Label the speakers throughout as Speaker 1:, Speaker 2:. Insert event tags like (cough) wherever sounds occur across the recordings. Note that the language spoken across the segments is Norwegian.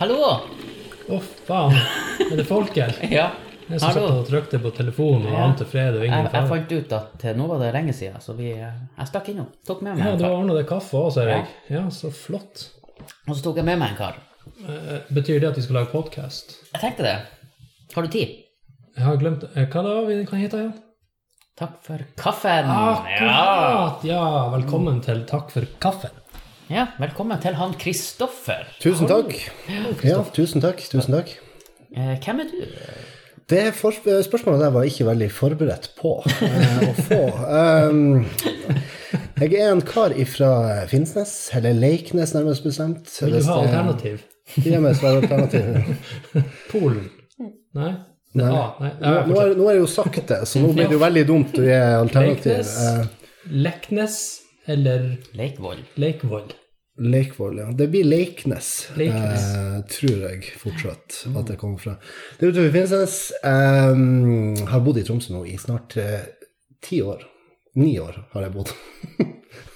Speaker 1: Hallo!
Speaker 2: Å, faen. Er det folk
Speaker 1: (laughs)
Speaker 2: her?
Speaker 1: Ja,
Speaker 2: Jeg som satt
Speaker 1: hallo.
Speaker 2: og trykte på telefonen og
Speaker 1: Ja.
Speaker 2: ante fred og ingen
Speaker 1: Jeg, jeg
Speaker 2: fare.
Speaker 1: fant ut at eh, nå var det lenge siden, så vi, eh, jeg stakk innom. Tok med meg
Speaker 2: Ja,
Speaker 1: en
Speaker 2: du har
Speaker 1: kar.
Speaker 2: ordna deg kaffe òg, ser jeg. Ja, så flott.
Speaker 1: Og så tok jeg med meg en kar.
Speaker 2: Eh, Betyr det at vi skal lage podkast?
Speaker 1: Jeg tenkte det. Har du tid?
Speaker 2: Jeg har glemt eh, Hva da? vi- Hva heter den?
Speaker 1: Takk for kaffen!
Speaker 2: Akkurat! Ja, velkommen til Takk for kaffen.
Speaker 1: Ja. ja, velkommen til han Kristoffer.
Speaker 3: Tusen takk. Ja, tusen takk. tusen takk.
Speaker 1: Eh, hvem er du?
Speaker 3: Det for, eh, spørsmålet der var jeg ikke veldig forberedt på eh, å få. Um, jeg er en kar fra Finnsnes, eller Leiknes nærmest bestemt.
Speaker 2: Vil du ha alternativ?
Speaker 3: Gi meg
Speaker 2: (laughs)
Speaker 3: svar alternativ.
Speaker 2: Polen?
Speaker 1: Mm.
Speaker 2: Nei? Det
Speaker 3: Nei.
Speaker 2: er A. Nei, jeg
Speaker 3: Nå, nå,
Speaker 2: fortsetter.
Speaker 3: er, nå er jeg jo sagt det, så nå blir det jo veldig dumt å gi alternativ.
Speaker 2: Leiknes,
Speaker 3: Eh,
Speaker 2: Leknes eller
Speaker 1: Leikvoll.
Speaker 3: (laughs)
Speaker 2: Leikvoll?
Speaker 3: Leikvoll, ja. Det blir Leiknes,
Speaker 2: Leiknes.
Speaker 3: Eh, tror jeg fortsatt at det kommer fra. Det er utover Finnsnes. Eh, har bodd i Tromsø nå i snart eh, ti år. Ni år har jeg bodd.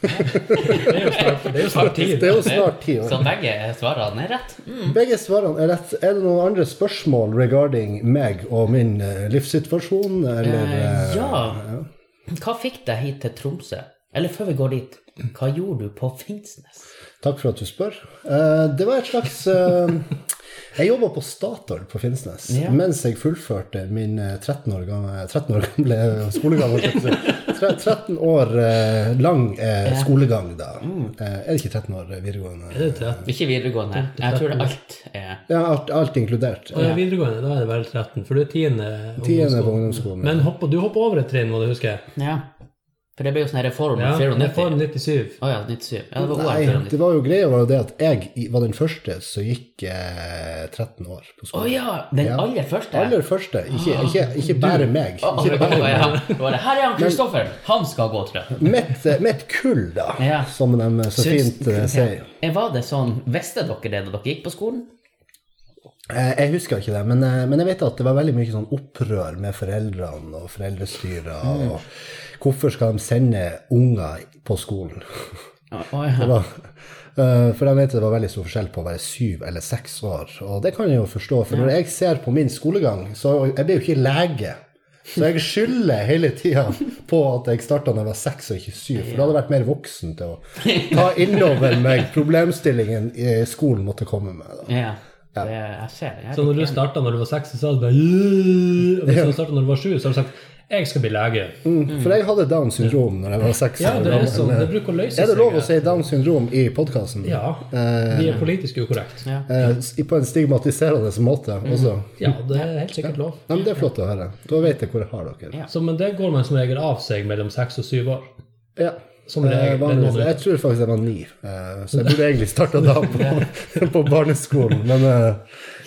Speaker 2: Det er jo snart, det er jo snart tid.
Speaker 3: Det er jo snart ti år.
Speaker 1: Så begge svarene er rett? Mm.
Speaker 3: Begge svarene er rett. Er det noen andre spørsmål regarding meg og min eh, livssituasjon, eller
Speaker 1: Eh,
Speaker 3: eh,
Speaker 1: ja. Hva fikk deg hit til Tromsø? Eller før vi går dit, hva gjorde du på Finnsnes?
Speaker 3: Takk for at du spør. Eh, det var et slags eh, Jeg jobba på Statoil på Finnsnes
Speaker 1: Ja.
Speaker 3: mens jeg fullførte min eh, 13 år gamle, 13 år gamle skolegang. holdt jeg på å si. Tre- 13 år eh, lang eh, skolegang, da.
Speaker 1: Mm.
Speaker 3: Eh, er det ikke 13 år eh,
Speaker 2: Det
Speaker 3: videregående?
Speaker 2: er tre.
Speaker 1: Ikke videregående. Jeg tror alt er
Speaker 3: Ja, alt, alt inkludert.
Speaker 2: Og ja. Eh, videregående, da er det vel 13, for du er tiende.
Speaker 3: Tiende
Speaker 2: ungdomsskolen.
Speaker 3: på ungdomsskolen.
Speaker 2: Men hoppa, du hoppa over et trinn, må du huske.
Speaker 1: Ja. For det ble jo sånn her reform
Speaker 2: Ja, det er
Speaker 1: 94.
Speaker 2: form 97.
Speaker 1: Å ja, 97. Ja, det var OL
Speaker 3: Nei,
Speaker 1: 94.
Speaker 3: det var jo greia var jo det at jeg i- var den første som gikk eh, 13 år på
Speaker 1: Å
Speaker 3: skolen.
Speaker 1: ja, den
Speaker 3: Ja.
Speaker 1: aller første.
Speaker 3: Aller første. Ikke, ikke, ikke bare meg.
Speaker 1: Å, å,
Speaker 3: Ikke bare
Speaker 1: å,
Speaker 3: meg.
Speaker 1: (laughs) ja. Det var det. Her er han Kristoffer. Han skal gå, tror jeg.
Speaker 3: Mitt, eh, mitt kull, da,
Speaker 1: Ja.
Speaker 3: som de så
Speaker 1: Syns-
Speaker 3: fint eh, sier.
Speaker 1: Eh, Var det sånn Visste dere det da dere gikk på skolen?
Speaker 3: Eh, Jeg husker ikke det, men, eh, men jeg vet at det var veldig mye sånn opprør med foreldrene og foreldrestyret.
Speaker 1: Mm.
Speaker 3: Og hvorfor skal de sende unger på skolen?
Speaker 1: Å, å, ja.
Speaker 3: Da, eh, For jeg vet det var veldig stor forskjell på å være syv eller seks år. Og det kan jeg jo forstå, for når jeg ser på min skolegang, så jeg blir jo ikke lege. Så jeg skylder hele tida på at jeg starta da jeg var seks og ikke syv. For da hadde jeg vært mer voksen til å ta innover meg problemstillingen i skolen måtte komme med. Da.
Speaker 1: ja. Det, jeg ser det.
Speaker 2: Så når du starta når du var 6, så sa du bare «Yeah», Og hvis du starta når du var 7, så har du sagt 'jeg skal bli lege'.
Speaker 3: For jeg hadde Downs syndrom når jeg var seks
Speaker 2: Mm. Ja,
Speaker 3: år
Speaker 2: det er
Speaker 3: gammel.
Speaker 2: sånn. Det bruker å løse
Speaker 3: Er det lov Eh, å
Speaker 2: seg.
Speaker 3: si Downs syndrom i podkasten?
Speaker 2: Ja. Vi er politisk ukorrekt.
Speaker 1: Ja.
Speaker 3: Eh, På en stigmatiserende måte også.
Speaker 2: Ja, det er helt sikkert lov.
Speaker 3: Ja, men det er flott å høre. Da vet jeg hvor jeg har dere.
Speaker 1: Ja.
Speaker 2: Så, men det går man som regel av seg mellom 6 og 7 år.
Speaker 3: Ja.
Speaker 2: Som regel,
Speaker 3: Eh,
Speaker 2: det
Speaker 3: vanligvis.
Speaker 2: er noe du-
Speaker 3: jeg tror faktisk jeg var ni, eh, så jeg burde egentlig starta da på, (laughs) på barneskolen. Men, eh,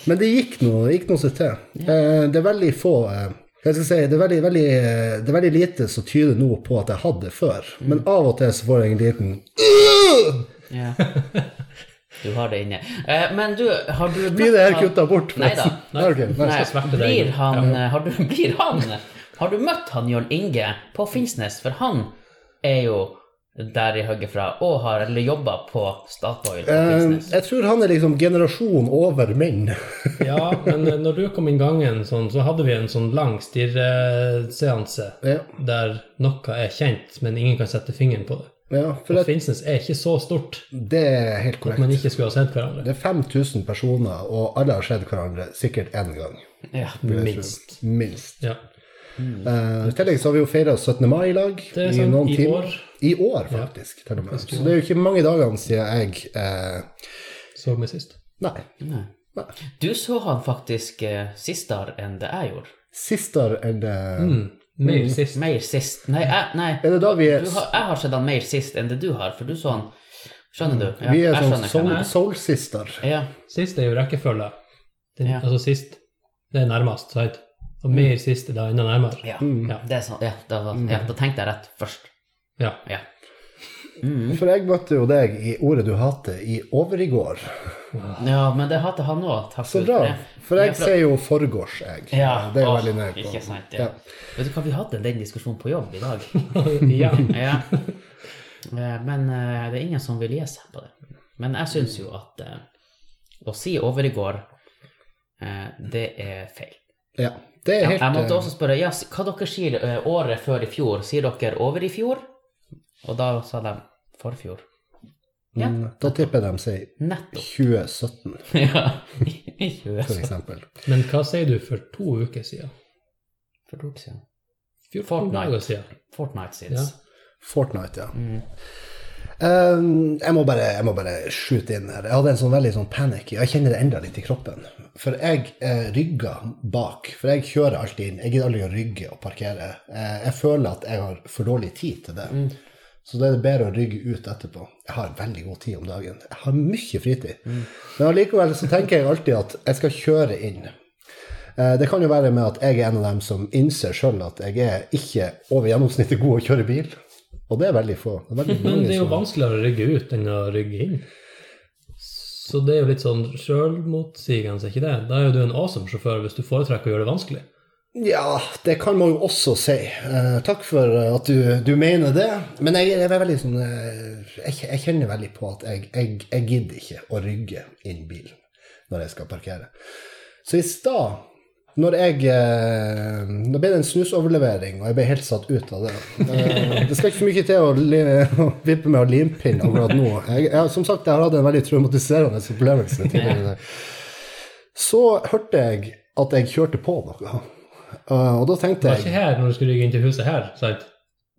Speaker 3: men det gikk nå det gikk noe seg til. Eh, Det er veldig få eh, hva skal jeg si, det er veldig, veldig, eh, det er veldig lite som tyder nå på at jeg hadde det før.
Speaker 2: Mm.
Speaker 3: Men av og til så får jeg en liten
Speaker 1: Ja. Du har det inne. Eh, men du, har du møtt
Speaker 3: Blir det her
Speaker 1: han-
Speaker 3: kutta bort?
Speaker 1: Nei da.
Speaker 3: Nei, (laughs) ok, nei.
Speaker 1: Nei,
Speaker 2: skal sverte deg.
Speaker 1: blir, han, har du, blir han Har du møtt han Jørn Inge på Finnsnes? For han er jo der i hugget fra, og har eller jobba på Statoil på
Speaker 3: Eh,
Speaker 1: Finnsnes.
Speaker 3: Jeg tror han er liksom generasjon over min.
Speaker 2: Ja, men eh, når du kom inn gangen, sånn, så hadde vi en sånn lang stirreseanse
Speaker 3: Ja.
Speaker 2: der noe er kjent, men ingen kan sette fingeren på det.
Speaker 3: (laughs) Ja, for
Speaker 2: Og
Speaker 3: jeg,
Speaker 2: Finnsnes er ikke så stort
Speaker 3: det er helt
Speaker 2: at man
Speaker 3: korrekt.
Speaker 2: ikke skulle ha sett hverandre.
Speaker 3: Det er 5000 personer, og alle har sett hverandre sikkert én gang.
Speaker 1: Ja.
Speaker 2: Minst.
Speaker 3: Minst.
Speaker 2: Ja.
Speaker 3: Eh, I tillegg så har vi jo feira 17. mai i lag.
Speaker 2: Det er sant, i år.
Speaker 3: I år, faktisk. til og med. Så det er jo ikke mange dagene siden jeg eh,
Speaker 2: Så meg sist.
Speaker 3: Nei.
Speaker 1: Nei.
Speaker 3: nei.
Speaker 1: Du så han faktisk eh, sistere enn det jeg gjorde.
Speaker 3: Sistere enn det
Speaker 1: Mm.
Speaker 2: Mer sist.
Speaker 1: Mer sist. Nei, jeg, nei.
Speaker 3: Er det da vi er
Speaker 1: Du har, jeg har sett han mer sist enn det du har, for du så han Skjønner du? Ja,
Speaker 3: Vi er
Speaker 1: jeg
Speaker 3: sånn
Speaker 1: skjønner hva
Speaker 3: soul,
Speaker 1: jeg mener.
Speaker 3: soul sister.
Speaker 1: Ja.
Speaker 2: Sist er jo rekkefølge. Den,
Speaker 1: Ja. Mm.
Speaker 2: Altså sist, det er nærmest, sant? Og mer sist er da enda nærmere.
Speaker 1: Ja,
Speaker 3: Mm.
Speaker 1: det er sant. Ja, da, var, ja, da tenkte jeg rett først.
Speaker 2: Ja.
Speaker 1: Ja. Mm.
Speaker 3: For jeg møtte jo deg i Ordet du hater i overigår.
Speaker 1: ja, men det hater han òg. Takk
Speaker 3: Ah. Så
Speaker 1: Gud
Speaker 3: bra.
Speaker 1: det.
Speaker 3: For
Speaker 1: Ja,
Speaker 3: jeg ser jo forgårs, jeg.
Speaker 1: ja,
Speaker 3: Det er jeg
Speaker 1: åh,
Speaker 3: veldig nøye på.
Speaker 1: Ikke sant, ja. Vet du hva, vi hadde den diskusjonen på jobb i
Speaker 3: (laughs)
Speaker 1: dag.
Speaker 2: ja.
Speaker 1: (laughs) ja. Eh, Men eh, det er ingen som vil gi seg på det. Men jeg syns jo at eh, å si over i går, eh, det er feil.
Speaker 3: Ja, det er
Speaker 1: Jeg,
Speaker 3: helt
Speaker 1: jeg måtte
Speaker 3: eh,
Speaker 1: også spørre ja, s- hva dere sier eh, året før i fjor. Sier dere over i fjor? Og da sa de forfjor. ja.
Speaker 3: mm, Da tipper de seg (laughs)
Speaker 1: Nettopp.
Speaker 3: 2017,
Speaker 1: ja. (laughs) Ikke det, (laughs)
Speaker 3: for
Speaker 1: så.
Speaker 3: eksempel.
Speaker 2: Men hva sier du for to uker siden?
Speaker 1: For to uker siden.
Speaker 2: 14
Speaker 1: Fortnite.
Speaker 2: dager siden.
Speaker 1: Fortnite siden.
Speaker 3: Fortnite, ja.
Speaker 1: Mm.
Speaker 3: Um, jeg, må bare, jeg må bare skyte inn her. Jeg hadde en sånn veldig sånn panic. Jeg kjenner det enda litt i kroppen. For jeg eh, rygger bak. For jeg kjører alltid inn. Jeg gidder aldri å rygge og parkere. Eh, jeg føler at jeg har for dårlig tid til det.
Speaker 2: Mm.
Speaker 3: Så da er det bedre å rygge ut etterpå. Jeg har veldig god tid om dagen. Jeg har mye fritid.
Speaker 2: Mm.
Speaker 3: Men allikevel så tenker jeg alltid at jeg skal kjøre inn. Eh, Det kan jo være med at jeg er en av dem som innser sjøl at jeg er ikke over gjennomsnittet god å kjøre bil. Og det er veldig få. Det
Speaker 2: (laughs)
Speaker 3: er veldig
Speaker 2: Men
Speaker 3: mange
Speaker 2: det er jo
Speaker 3: som-
Speaker 2: vanskeligere å rygge ut enn å rygge inn. Så det er jo litt sånn sjølmotsigende, er ikke det? Da er jo du en awesome sjåfør hvis du foretrekker å gjøre det vanskelig.
Speaker 3: Ja, det kan man jo også si. Eh, takk for at du, du mener det. Men jeg, jeg er veldig sånn eh, jeg, jeg kjenner veldig på at jeg, jeg, jeg gidder ikke å rygge inn bilen når jeg skal parkere. Så i stad, når jeg eh, Da ble det en snusoverlevering, og jeg ble helt satt ut av det. Eh, det skal ikke for mye til å, li, å vippe med og limpinne akkurat nå. Jeg, jeg, som sagt, jeg har hatt en veldig traumatiserende opplevelse tidligere i dag. Så hørte jeg at jeg kjørte på noe. Eh, og da
Speaker 2: Det
Speaker 3: tenkte
Speaker 2: var ikke
Speaker 3: jeg
Speaker 2: her når du skulle rygge inn til huset her, sant?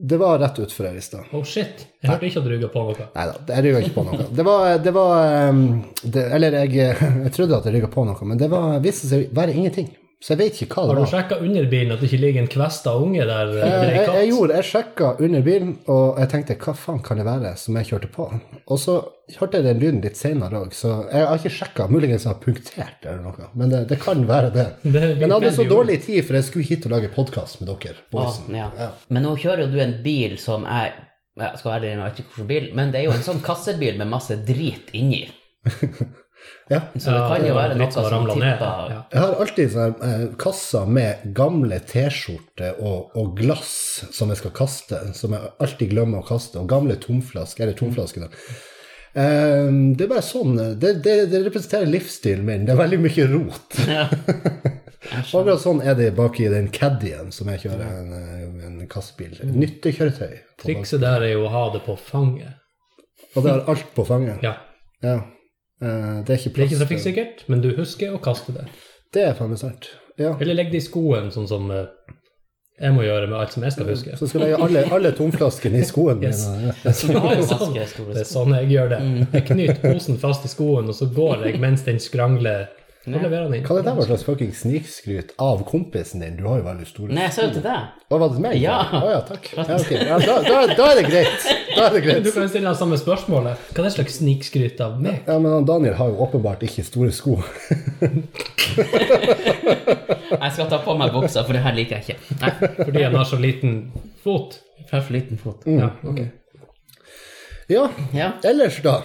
Speaker 3: Det var rett utfor her i stad.
Speaker 2: Oh shit, jeg hørte ikke at du rygga på noe.
Speaker 3: Nei da, jeg rygga ikke på noe. Det var, det var ehm, det, Eller jeg, jeg trodde at jeg rygga på noe, men det var, viste seg å være ingenting. Så jeg vet ikke hva
Speaker 2: Har
Speaker 3: det
Speaker 2: du
Speaker 3: var.
Speaker 2: sjekka under bilen at det ikke ligger en kvesta unge der?
Speaker 1: Eh,
Speaker 3: Jeg,
Speaker 2: eller en
Speaker 3: Eh, jeg,
Speaker 2: katt?
Speaker 3: jeg gjorde, jeg sjekka under bilen, og jeg tenkte hva faen kan det være som jeg kjørte på? Og så hørte jeg den lyden litt seinere òg, så jeg har ikke sjekka. Muligens jeg har punktert eller noe, men det, det kan være det.
Speaker 2: Det er
Speaker 3: Men jeg hadde så
Speaker 2: veldig
Speaker 3: dårlig tid, for jeg skulle hit og lage podkast med dere. boysen.
Speaker 1: Ah, ja.
Speaker 3: Ja.
Speaker 1: Men nå kjører jo du en bil som er jeg skal være ærlig, jeg vet ikke hvilken bil, men det er jo en sånn kassebil med masse drit inni.
Speaker 3: Ja.
Speaker 1: Så det
Speaker 2: Ja,
Speaker 1: kan
Speaker 2: det
Speaker 1: jo
Speaker 2: var
Speaker 1: være
Speaker 2: litt
Speaker 1: noe
Speaker 2: som
Speaker 1: som
Speaker 2: å ramle ned.
Speaker 1: tipper
Speaker 2: Ja.
Speaker 3: Jeg har alltid sånne eh, kasser med gamle T-skjorter og, og glass som jeg skal kaste, som jeg alltid glemmer å kaste, og gamle tomflasker, eller tomflasker. da. Eh, det er bare sånn eh, det, det, det representerer livsstilen min. Det er veldig mye rot.
Speaker 1: (laughs) Ja.
Speaker 3: Akkurat sånn er det bak i den Caddien som jeg kjører, en, eh, en kassebil. Nyttekjøretøy. på bak.
Speaker 2: Trikset der er jo å ha det på fanget.
Speaker 3: Og det har alt på fanget.
Speaker 2: Ja.
Speaker 3: Ja. Eh, det er ikke
Speaker 2: Det er ikke
Speaker 3: plass. til-
Speaker 2: trafikksikkert, men du husker å kaste det.
Speaker 3: Det er faen meg sant. Ja.
Speaker 2: Eller legg det i skoen, sånn som eh, jeg må gjøre med alt som jeg
Speaker 1: Mm.
Speaker 2: skal huske.
Speaker 3: Så skal jeg legge alle, alle tomflaskene i skoen min.
Speaker 2: Yes.
Speaker 1: (laughs)
Speaker 3: Ja.
Speaker 1: Du har jo
Speaker 2: Sånn.
Speaker 1: ganske store
Speaker 2: Det er sånn jeg gjør det.
Speaker 1: Mm.
Speaker 2: Jeg knyter posen fast i skoen, og så går jeg mens den skrangler. Så
Speaker 1: Ja.
Speaker 2: leverer den inn.
Speaker 3: Hva er det der var slags fucking snikskryt av kompisen din? Du har jo veldig store
Speaker 1: Nei, jeg sa jo til deg.
Speaker 3: Å, var det meg?
Speaker 1: Ja.
Speaker 3: Å ja, takk. Ja, ok. ja, da, da, da er det greit. Da er det
Speaker 2: Du
Speaker 3: greit.
Speaker 2: kan stille deg samme spørsmålet. Hva er det slags snikskryt av
Speaker 1: (laughs)
Speaker 2: meg?
Speaker 3: Ja, men han Daniel har jo åpenbart ikke store sko.
Speaker 1: Jeg skal ta på meg buksa, for det her liker jeg ikke. Nei,
Speaker 2: Fordi han har så liten fot?
Speaker 1: for jeg har for liten fot.
Speaker 3: Mm.
Speaker 2: Ja, ok.
Speaker 3: Ja,
Speaker 1: Ja.
Speaker 3: ellers da?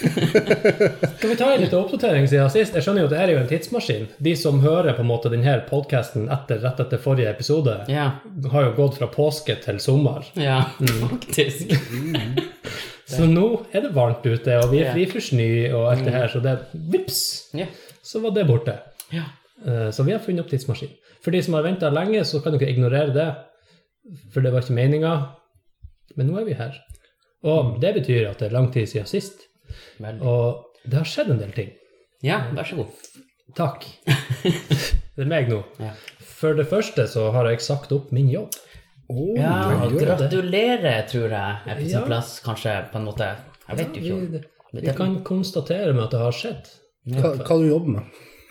Speaker 2: Skal vi ta en liten oppdatering siden sist? Jeg skjønner jo at dette er jo en tidsmaskin. De som hører på en måte denne podcasten etter, rett etter forrige episode,
Speaker 1: Ja.
Speaker 2: har jo gått fra påske til sommer.
Speaker 1: Ja,
Speaker 2: Mm.
Speaker 1: faktisk.
Speaker 2: Så nå er det varmt ute, og vi er
Speaker 1: Ja.
Speaker 2: fri for snø og alt det her, så det vips,
Speaker 1: Ja.
Speaker 2: så var det borte.
Speaker 1: ja.
Speaker 2: Eh, Så vi har funnet opp tidsmaskin. For de som har venta lenge, så kan dere ignorere det, for det var ikke meninga. Men nå er vi her. Og det betyr at det er lang tid siden sist,
Speaker 1: Veldig.
Speaker 2: og det har skjedd en del ting.
Speaker 1: Ja, vær så god. (laughs)
Speaker 2: Takk. Det er meg nå.
Speaker 1: Ja.
Speaker 2: For det første så har jeg sagt opp min jobb.
Speaker 3: Oh,
Speaker 1: Ja,
Speaker 3: ja, gjør det.
Speaker 1: gratulerer, tror jeg, er på
Speaker 2: Ja.
Speaker 1: sin plass, kanskje, på en måte. Jeg vet jo ikke.
Speaker 2: Vi, vi kan konstatere med at det har skjedd.
Speaker 3: Hva, hva du jobber med?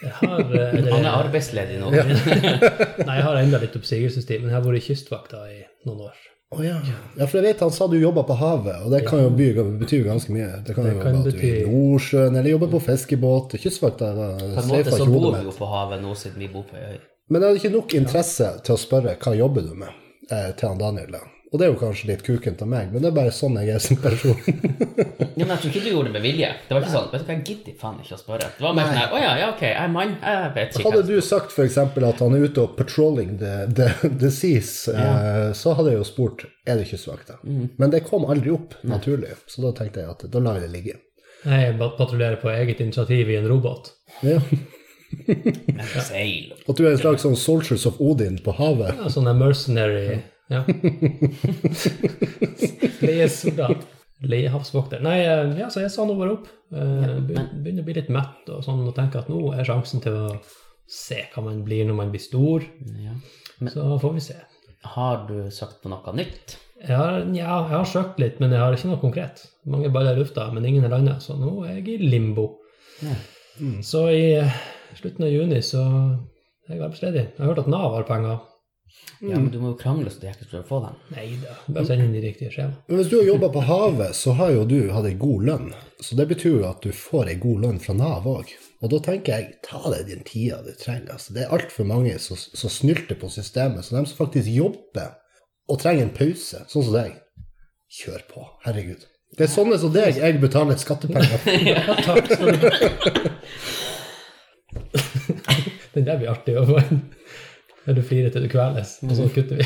Speaker 2: Jeg
Speaker 1: (laughs)
Speaker 2: har, eh, eller-
Speaker 1: Han er arbeidsledig nå.
Speaker 2: Nei, jeg har enda litt oppsigelsestid, men jeg har vært i kystvakta i noen år.
Speaker 3: Å ja. ja, for jeg vet han sa du jobba på havet, og det kan jo by, bety ganske mye. Det kan
Speaker 2: Det
Speaker 3: jo
Speaker 2: kan
Speaker 3: være at du er i
Speaker 2: bety-
Speaker 3: Nordsjøen, eller jobber på fiskebåt, kystvakta
Speaker 1: På en måte
Speaker 3: streifa
Speaker 1: så
Speaker 3: kjolen
Speaker 1: bor vi
Speaker 3: min.
Speaker 1: jo på havet nå, siden vi bor på ei øy.
Speaker 3: Men jeg hadde ikke nok interesse til å spørre hva jobber du med eh, til han Daniel. da. Og det er jo kanskje litt kukent av meg, men det er bare sånn jeg er som person.
Speaker 1: Ja, men jeg tror ikke du gjorde det med vilje. Det var ikke sånn, vet du hva, jeg gidder faen ikke å spørre. Det var mer sånn, her, å ja, ja, ok, jeg er mann, jeg vet ikke.
Speaker 3: Hadde du sagt f.eks. at han er ute og patrolling the, the, the seas, eh, så hadde jeg jo spurt er det kystvakta. Men det kom aldri opp naturlig, så da tenkte jeg at da lar vi det ligge.
Speaker 2: Nei, Jeg bat- patruljerer på eget initiativ i en robot.
Speaker 3: Ja.
Speaker 1: Men seil
Speaker 3: At du er en slags sånn Soldiers of Odin på havet.
Speaker 2: Ja, sånn der mercenary ja. Leiesoldat. Leiehavsvokter. Nei, eh, ja, så jeg sa nå bare opp. Eh, be- Begynner å bli litt mett og sånn, og tenker at nå er sjansen til å se hva man blir når man blir stor.
Speaker 1: ja.
Speaker 2: Så får vi se.
Speaker 1: Har du sagt på noe nytt?
Speaker 2: Jeg har, ja, jeg har søkt litt, men jeg har ikke noe konkret. Mange baller i lufta, men ingen er landa, så nå er jeg i limbo.
Speaker 1: Ja.
Speaker 2: Så i eh, slutten av juni så er jeg arbeidsledig. Jeg har hørt at Nav har penger. Mm.
Speaker 1: Ja, men du må jo krangle så du ikke skal få dem.
Speaker 2: Nei da, bare send inn de riktige skjemaene.
Speaker 3: Men hvis du har jobba på havet, så har jo du hatt ei god lønn. Så det betyr jo at du får ei god lønn fra Nav òg. Og da tenker jeg, ta deg den tida du trenger. Altså, det er altfor mange som, som snylter på systemet. Så de som faktisk jobber og trenger en pause, sånn som deg, kjør på. Herregud. Det er sånne som deg jeg betaler skattepenger for.
Speaker 2: (laughs) Ja, takk skal du ha. Den der blir artig å få inn. Der du flirer til du kveles, og så kutter vi.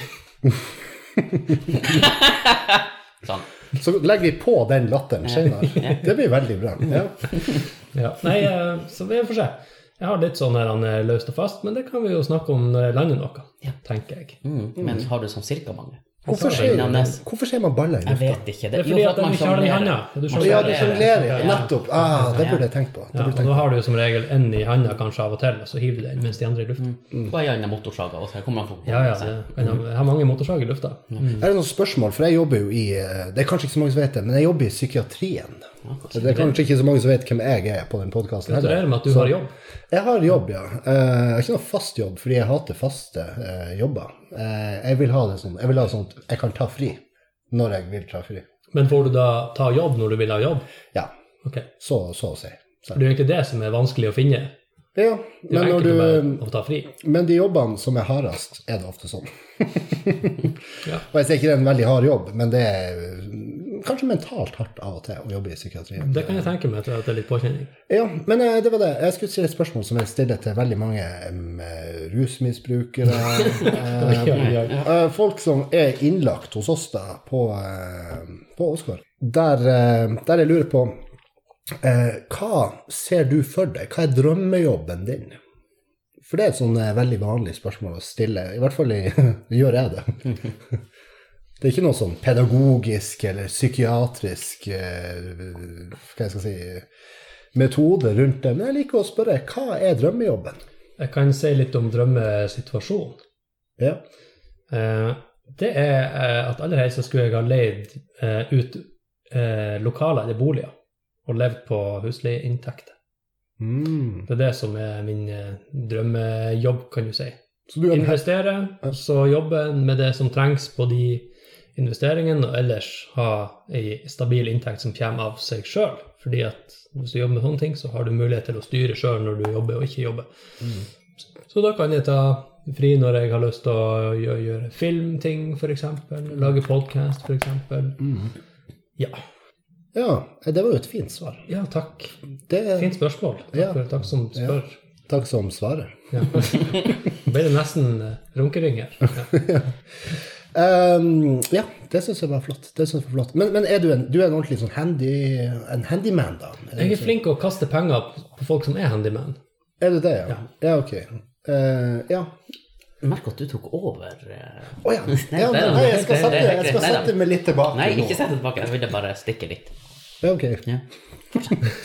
Speaker 1: Sånn.
Speaker 3: Så legger vi på den latteren senere. Det blir veldig bra. Ja.
Speaker 2: Ja. Nei, eh, så vi får se. Jeg har litt sånn her han er løst og fast, men det kan vi jo snakke om når jeg lander noe, tenker jeg.
Speaker 1: Mm. Men har du sånn cirka mange?
Speaker 3: Hvorfor
Speaker 1: Sorry,
Speaker 3: sier,
Speaker 1: Nannes.
Speaker 3: hvorfor sier man baller i
Speaker 1: Jeg
Speaker 3: lufta?
Speaker 1: vet ikke.
Speaker 2: Det er fordi
Speaker 1: jo,
Speaker 2: at de ikke har den i handa. Du
Speaker 1: Man
Speaker 2: skjønner.
Speaker 3: Ja, du
Speaker 1: sjonglerer.
Speaker 3: sjonglerer, ja.
Speaker 2: Ja.
Speaker 3: Nettopp. Ah, det burde jeg tenkt på.
Speaker 2: Ja,
Speaker 3: Det burde jeg
Speaker 2: og
Speaker 3: tenke
Speaker 2: da
Speaker 3: på.
Speaker 2: har du jo som regel én i handa kanskje av og til, og så hiver du den mens de andre er i lufta.
Speaker 1: Hva er gjerne motorsaga? Og så kommer han
Speaker 2: Mm. Ja, ja, det- men jeg har mange motorsager i lufta.
Speaker 3: Er det noen spørsmål? For jeg jobber jo i eh, Det er kanskje ikke så mange som vet det, men jeg jobber i psykiatrien. Så det er kanskje ikke så mange som vet hvem jeg er på den podkasten
Speaker 2: Gratulerer med at du har jobb.
Speaker 3: Jeg har jobb, ja. Eh, Jeg har ikke noe fast jobb, fordi jeg hater faste eh, jobber. Eh, Jeg vil ha det sånn Jeg vil ha det sånn at jeg kan ta fri når jeg vil ta fri.
Speaker 2: Men får du da ta jobb når du vil ha jobb?
Speaker 3: Ja.
Speaker 2: Ok.
Speaker 3: Så, så å si. Så.
Speaker 2: For det er jo egentlig det som er vanskelig å finne.
Speaker 3: Ja,
Speaker 2: Det er
Speaker 3: men
Speaker 2: jo
Speaker 3: når
Speaker 2: enkelt å bare
Speaker 3: du
Speaker 2: å ta fri.
Speaker 3: Men de jobbene som er hardest, er det ofte sånn.
Speaker 2: (laughs) Ja.
Speaker 3: Og jeg sier ikke det er en veldig hard jobb, men det er mm, kanskje mentalt hardt av og til å jobbe i psykiatrien.
Speaker 2: Det kan jeg tenke meg, at det er litt påkjenning.
Speaker 3: Ja, men eh, det var det. Jeg skulle stille et spørsmål som jeg stiller til veldig mange em, eh,
Speaker 2: (laughs)
Speaker 3: rusmisbrukere. eh,
Speaker 2: Ja, ja, ja.
Speaker 3: eh, folk som er innlagt hos oss da, på, eh, på Åsgård. Der, eh, der jeg lurer på eh, Hva ser du for deg? Hva er drømmejobben din? For det er et sånn eh, veldig vanlig spørsmål å stille. I hvert fall i, (laughs) gjør jeg det.
Speaker 2: (laughs)
Speaker 3: Det er ikke noe sånn pedagogisk eller psykiatrisk eh, hva jeg skal si, metode rundt det. Men jeg liker å spørre hva er drømmejobben?
Speaker 2: Jeg kan si litt om drømmesituasjonen.
Speaker 3: Ja.
Speaker 2: Eh, det er eh, at aller helst så skulle jeg ha leid eh, ut eh, lokaler eller boliger og levd på husleieinntekter.
Speaker 3: Mm.
Speaker 2: Det er det som er min eh, drømmejobb, kan du si.
Speaker 3: Så du er,
Speaker 2: Investere, og så jobbe med det som trengs på de investeringene, og ellers ha ei stabil inntekt som kommer av seg sjøl. Fordi at hvis du jobber med sånne ting, så har du mulighet til å styre sjøl når du jobber og ikke jobber.
Speaker 3: Mm.
Speaker 2: Så da kan jeg ta fri når jeg har lyst til å gjøre, gjøre filmting, f.eks. Lage podkast, f.eks.
Speaker 3: Mm.
Speaker 2: Ja.
Speaker 3: ja, det var jo et fint svar.
Speaker 2: ja, takk.
Speaker 3: Det er
Speaker 2: Fint spørsmål. Takk,
Speaker 3: Ja.
Speaker 2: for, takk som spør.
Speaker 3: takk som svarer.
Speaker 2: Ja. (laughs) Ble det nesten eh, runkering her?
Speaker 3: (laughs)
Speaker 2: Ja.
Speaker 3: Ehm, ja, det syns jeg var flott. Det synes jeg var flott. Men, men er du en, du er en ordentlig sånn handy, en handyman, da?
Speaker 2: Jeg er flink til å kaste penger på folk som er handyman.
Speaker 3: Er du det, ja? Ja, ok. Eh, ja.
Speaker 1: Merk at du tok over. eh.
Speaker 3: Å ja.
Speaker 1: Nei,
Speaker 3: ja
Speaker 1: det er-
Speaker 3: nei, jeg
Speaker 1: det-
Speaker 3: skal
Speaker 1: det
Speaker 3: sette,
Speaker 1: er
Speaker 3: jeg
Speaker 1: ikke-
Speaker 3: skal
Speaker 1: nei,
Speaker 3: sette
Speaker 1: da.
Speaker 3: meg litt tilbake
Speaker 1: Nei,
Speaker 3: nå.
Speaker 1: ikke sett det tilbake. Jeg ville bare stikke litt.
Speaker 3: Ja, ok.
Speaker 1: Ja.
Speaker 3: (laughs)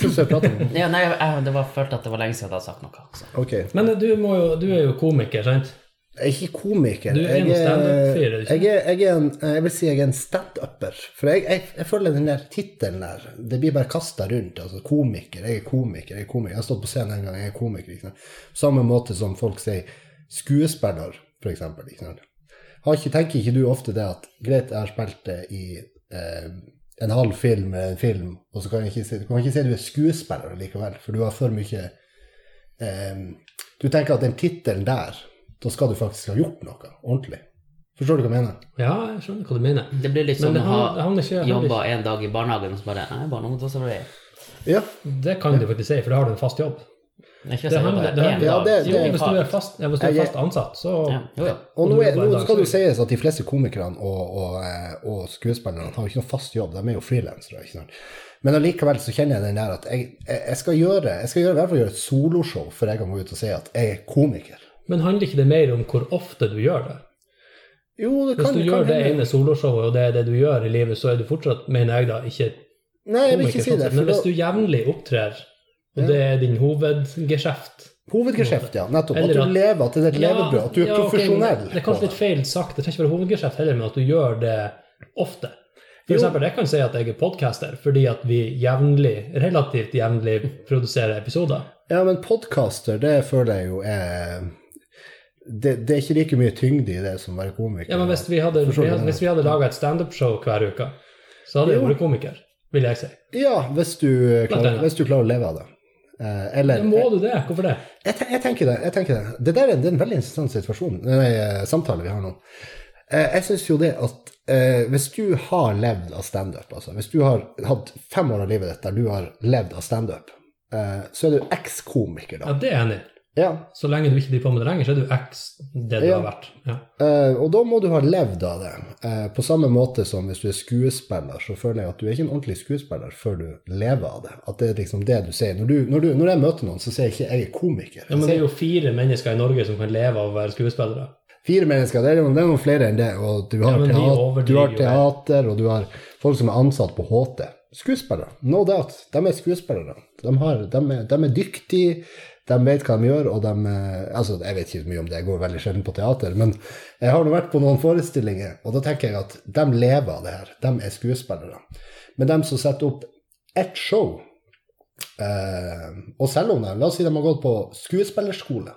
Speaker 3: Synes jeg prater om det.
Speaker 1: Ja, nei, jeg, jeg det var, følte at det var lenge siden jeg hadde sagt noe. Så.
Speaker 3: Ok.
Speaker 2: Men du, må jo, du er jo komiker, sant?
Speaker 3: Jeg er ikke komiker.
Speaker 2: Du er en stand-up-fyr, er du ikke?
Speaker 3: jeg, er, jeg, er en, jeg vil si jeg er en stand-upper. For jeg, jeg, jeg føler den der tittelen der, det blir bare kasta rundt. Altså komiker, jeg er komiker, jeg er komiker. Jeg har stått på scenen en gang, jeg er komiker. Ikke sant? På samme måte som folk sier skuespiller, for eksempel. Ikke sant? Har ikke, tenker ikke du ofte det at greit, jeg har spilt det i eh, en halv film, en film, og så kan jeg ikke si, kan jeg ikke si du er skuespiller likevel, for du har for mye Ehm, du tenker at den tittelen der, da skal du faktisk ha gjort noe ordentlig. Forstår du hva jeg mener?
Speaker 2: Ja, jeg skjønner hva du mener.
Speaker 1: Det blir litt
Speaker 2: Men
Speaker 1: som
Speaker 2: det
Speaker 1: å ha
Speaker 2: handler, det handler ikke handler
Speaker 1: jobba en dag i barnehagen og så bare Nei, barn og ungdom, så blir det
Speaker 3: Ja,
Speaker 2: ikke- Det kan du faktisk si, for da har du en fast jobb.
Speaker 1: Det er ikke
Speaker 2: Det
Speaker 1: så
Speaker 2: handler,
Speaker 1: jobba
Speaker 2: det
Speaker 1: en
Speaker 2: handler,
Speaker 3: Ja,
Speaker 1: dag.
Speaker 3: det-
Speaker 2: jo,
Speaker 3: det-
Speaker 1: Jo,
Speaker 2: hvis du er fast, ja, hvis du er
Speaker 3: Jeg- jeg-
Speaker 2: fast ansatt, så
Speaker 1: Ja, jo, jo.
Speaker 3: og nå, er, nå skal du sies at de fleste komikerne og, og, eh, og skuespillerne har jo ikke noe fast jobb, de er jo frilansere. ikke sant? Men allikevel så kjenner jeg den der at jeg, jeg, jeg skal gjøre jeg skal gjøre, i hvert fall gjøre et soloshow før jeg kan gå ut og si at jeg er komiker.
Speaker 2: Men handler ikke det mer om hvor ofte du gjør det?
Speaker 3: Jo, det
Speaker 2: Hvis
Speaker 3: kan,
Speaker 2: du
Speaker 3: kan
Speaker 2: gjør det
Speaker 3: hende.
Speaker 2: ene soloshowet, og det er det du gjør i livet, så er du fortsatt, mener jeg da, ikke
Speaker 3: Nei, jeg vil ikke
Speaker 2: komiker,
Speaker 3: si
Speaker 2: sånn
Speaker 3: det.
Speaker 2: sett.
Speaker 3: For
Speaker 2: Men
Speaker 3: da,
Speaker 2: hvis du jevnlig opptrer, og
Speaker 3: Ja.
Speaker 2: det er din hovedgeskjeft
Speaker 3: hovedgeskjeft, ja. Nettopp.
Speaker 2: Eller
Speaker 3: At
Speaker 2: at-
Speaker 3: du lever, at det er et levebrød. At du er
Speaker 2: ja, ok, men
Speaker 3: profesjonell.
Speaker 2: Det er
Speaker 3: på
Speaker 2: kanskje litt feil sagt. Det trenger ikke være hovedgeskjeft heller, men at du gjør det ofte. For
Speaker 3: Jo.
Speaker 2: eksempel, jeg kan si at jeg er podcaster fordi at vi jevnlig, relativt jevnlig, produserer episoder.
Speaker 3: Ja, men podcaster, det føler jeg jo er det, det er ikke like mye tyngde i det som å være komiker.
Speaker 2: Ja, men hvis vi hadde,
Speaker 3: Forstår du
Speaker 2: vi
Speaker 3: det?
Speaker 2: hadde, hvis vi hadde laga et standup-show hver uke, så hadde jeg
Speaker 3: Jo.
Speaker 2: vært komiker, vil jeg si.
Speaker 3: Ja, hvis du, klarer,
Speaker 2: annet.
Speaker 3: hvis du klarer å leve av det. Eh, eller
Speaker 2: Men må du det? Hvorfor det?
Speaker 3: jeg, te- jeg tenker det. jeg tenker Det Det der er en, det er en veldig interessant situasjon, nei, eh, samtale vi har nå. Eh, Jeg syns jo det at eh, hvis du har levd av standup, altså hvis du har hatt fem år av livet ditt der du har levd av standup, eh, så er du ekskomiker,
Speaker 2: Ja,
Speaker 3: da.
Speaker 2: det er jeg enig i.
Speaker 3: Ja.
Speaker 2: Så lenge du ikke driver på med det lenger, så er du X det du
Speaker 3: Ja.
Speaker 2: har vært. Ja.
Speaker 3: Eh, Og da må du ha levd av det. Eh, På samme måte som hvis du er skuespiller, så føler jeg at du er ikke en ordentlig skuespiller før du lever av det. At det er liksom det du sier. Når, du, når, du, når jeg møter noen, så sier jeg ikke 'jeg er komiker'.
Speaker 2: Ja, men
Speaker 3: Jeg
Speaker 2: det
Speaker 3: sier
Speaker 2: er jo fire mennesker i Norge som kan leve av å være skuespillere.
Speaker 3: Fire mennesker, det er, jo- det er noen flere enn det. Og du har,
Speaker 2: Ja, men de
Speaker 3: teater, du har
Speaker 2: overdriver jo
Speaker 3: teater, og du har folk som er ansatt på HT. Skuespillere. No doubt. De er skuespillere. De, har, de, er, de er dyktige, de vet hva de gjør, og de eh, Altså, jeg vet ikke mye om det, jeg går veldig sjelden på teater, men jeg har nå vært på noen forestillinger, og da tenker jeg at de lever av det her. De er skuespillere. Men de som setter opp ett show Eh, og selv om de, la oss si de har gått på skuespillerskole,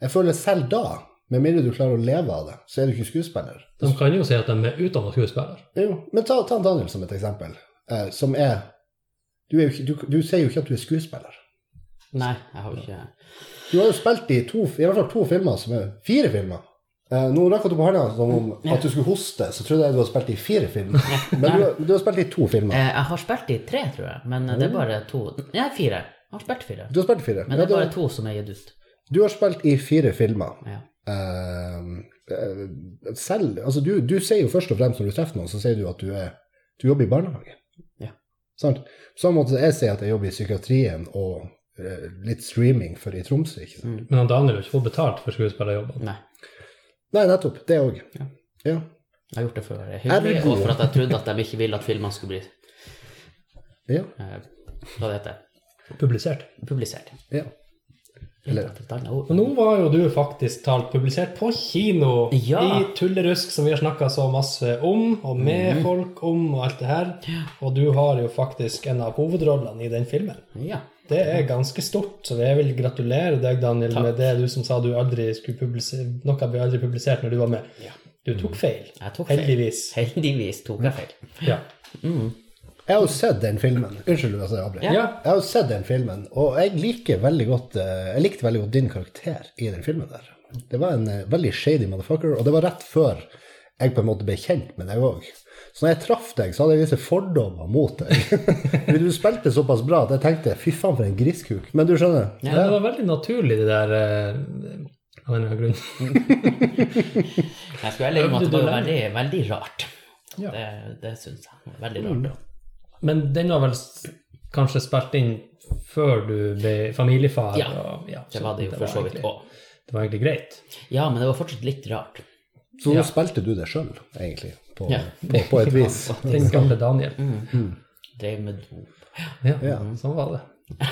Speaker 3: jeg føler selv da, med mindre du klarer å leve av det, så er du ikke skuespiller.
Speaker 2: De kan jo si at de er utdannet skuespiller.
Speaker 3: Jo, men ta, ta Daniel som et eksempel, eh, som er du, er jo ikke, du, du sier jo ikke at du er skuespiller.
Speaker 1: Nei, jeg har jo ikke
Speaker 3: Du har jo spilt i to, i hvert fall to filmer, som er fire filmer. Eh, nå rakk du på hånda som om at du skulle hoste, så trodde jeg du hadde spilt i fire filmer.
Speaker 1: (laughs)
Speaker 3: Men du, har- du har spilt i to
Speaker 1: Eh,
Speaker 3: filmer.
Speaker 1: Jeg har spilt i tre, tror jeg, men det er bare to Nei, fire. Jeg har spilt fire.
Speaker 3: Du har spilt i fire.
Speaker 1: Men det
Speaker 3: Ja,
Speaker 1: er
Speaker 3: du,
Speaker 1: bare to som er gitt ut.
Speaker 3: du har spilt i fire filmer.
Speaker 1: Ja.
Speaker 3: Eh, eh, selv altså du, du sier jo først og fremst når du treffer noen, så sier du at du, er, du jobber i barnehage.
Speaker 1: Ja.
Speaker 3: Sant? På samme måte som jeg sier at jeg jobber i psykiatrien og eh, litt streaming for i Tromsø. ikke sant?
Speaker 1: Mm.
Speaker 2: Men han Daniel har ikke fått betalt for skuespillerjobben.
Speaker 1: Nei.
Speaker 3: Nei, nettopp. Det òg.
Speaker 1: Ja.
Speaker 3: Ja.
Speaker 1: Jeg har gjort det for å være hyggelig,
Speaker 3: Ergo.
Speaker 1: og for at jeg trodde at de ikke ville at filmene skulle bli
Speaker 3: Ja.
Speaker 1: eh, hva det heter,
Speaker 2: Publisert.
Speaker 1: publisert.
Speaker 3: ja.
Speaker 1: Eller et annet ord.
Speaker 2: Og nå var jo du faktisk talt publisert på kino
Speaker 1: Ja.
Speaker 2: i Tullerusk, som vi har snakka så masse om, og med folk om, og alt det her. Og du har jo faktisk en av hovedrollene i den filmen.
Speaker 1: Ja.
Speaker 2: Det er ganske stort, så jeg vil gratulere deg, Daniel, med det du som sa du aldri skulle publisere Noe ble aldri publisert når du var med. Du tok feil.
Speaker 1: Jeg tok feil.
Speaker 2: Heldigvis.
Speaker 1: Heldigvis tok jeg feil.
Speaker 2: Ja.
Speaker 3: Jeg har jo sett den filmen. Unnskyld, altså, jeg avbryter.
Speaker 1: Ja.
Speaker 2: ja.
Speaker 3: Jeg har jo sett den filmen, og jeg liker veldig godt eh, jeg likte veldig godt din karakter i den filmen der. Det var en eh, veldig shady motherfucker, og det var rett før jeg på en måte ble kjent med deg òg. Så når jeg traff deg, så hadde jeg visse fordommer mot deg. (laughs) Fordi du spilte såpass bra at jeg tenkte fy faen for en griskuk. Men du skjønner? eh,
Speaker 2: Ja, det var veldig naturlig, det der eh, av en eller annen grunn.
Speaker 1: Jeg skulle heller innrømme at det var jo veldig, veldig rart.
Speaker 2: Ja.
Speaker 1: Det, det syns jeg. Veldig rart.
Speaker 2: Men den var vel s- kanskje spilt inn før du ble familiefar?
Speaker 1: Ja.
Speaker 2: og- ja,
Speaker 1: Det var det jo for så vidt
Speaker 2: egentlig-
Speaker 1: òg.
Speaker 2: Det var egentlig greit.
Speaker 1: Ja, men det var fortsatt litt rart.
Speaker 3: Så
Speaker 2: Ja.
Speaker 3: nå spilte du det sjøl, egentlig. På,
Speaker 1: Ja.
Speaker 3: på, på et vis.
Speaker 2: Den gamle Daniel.
Speaker 1: Mm. Drev med dop.
Speaker 2: Ja, sånn var det.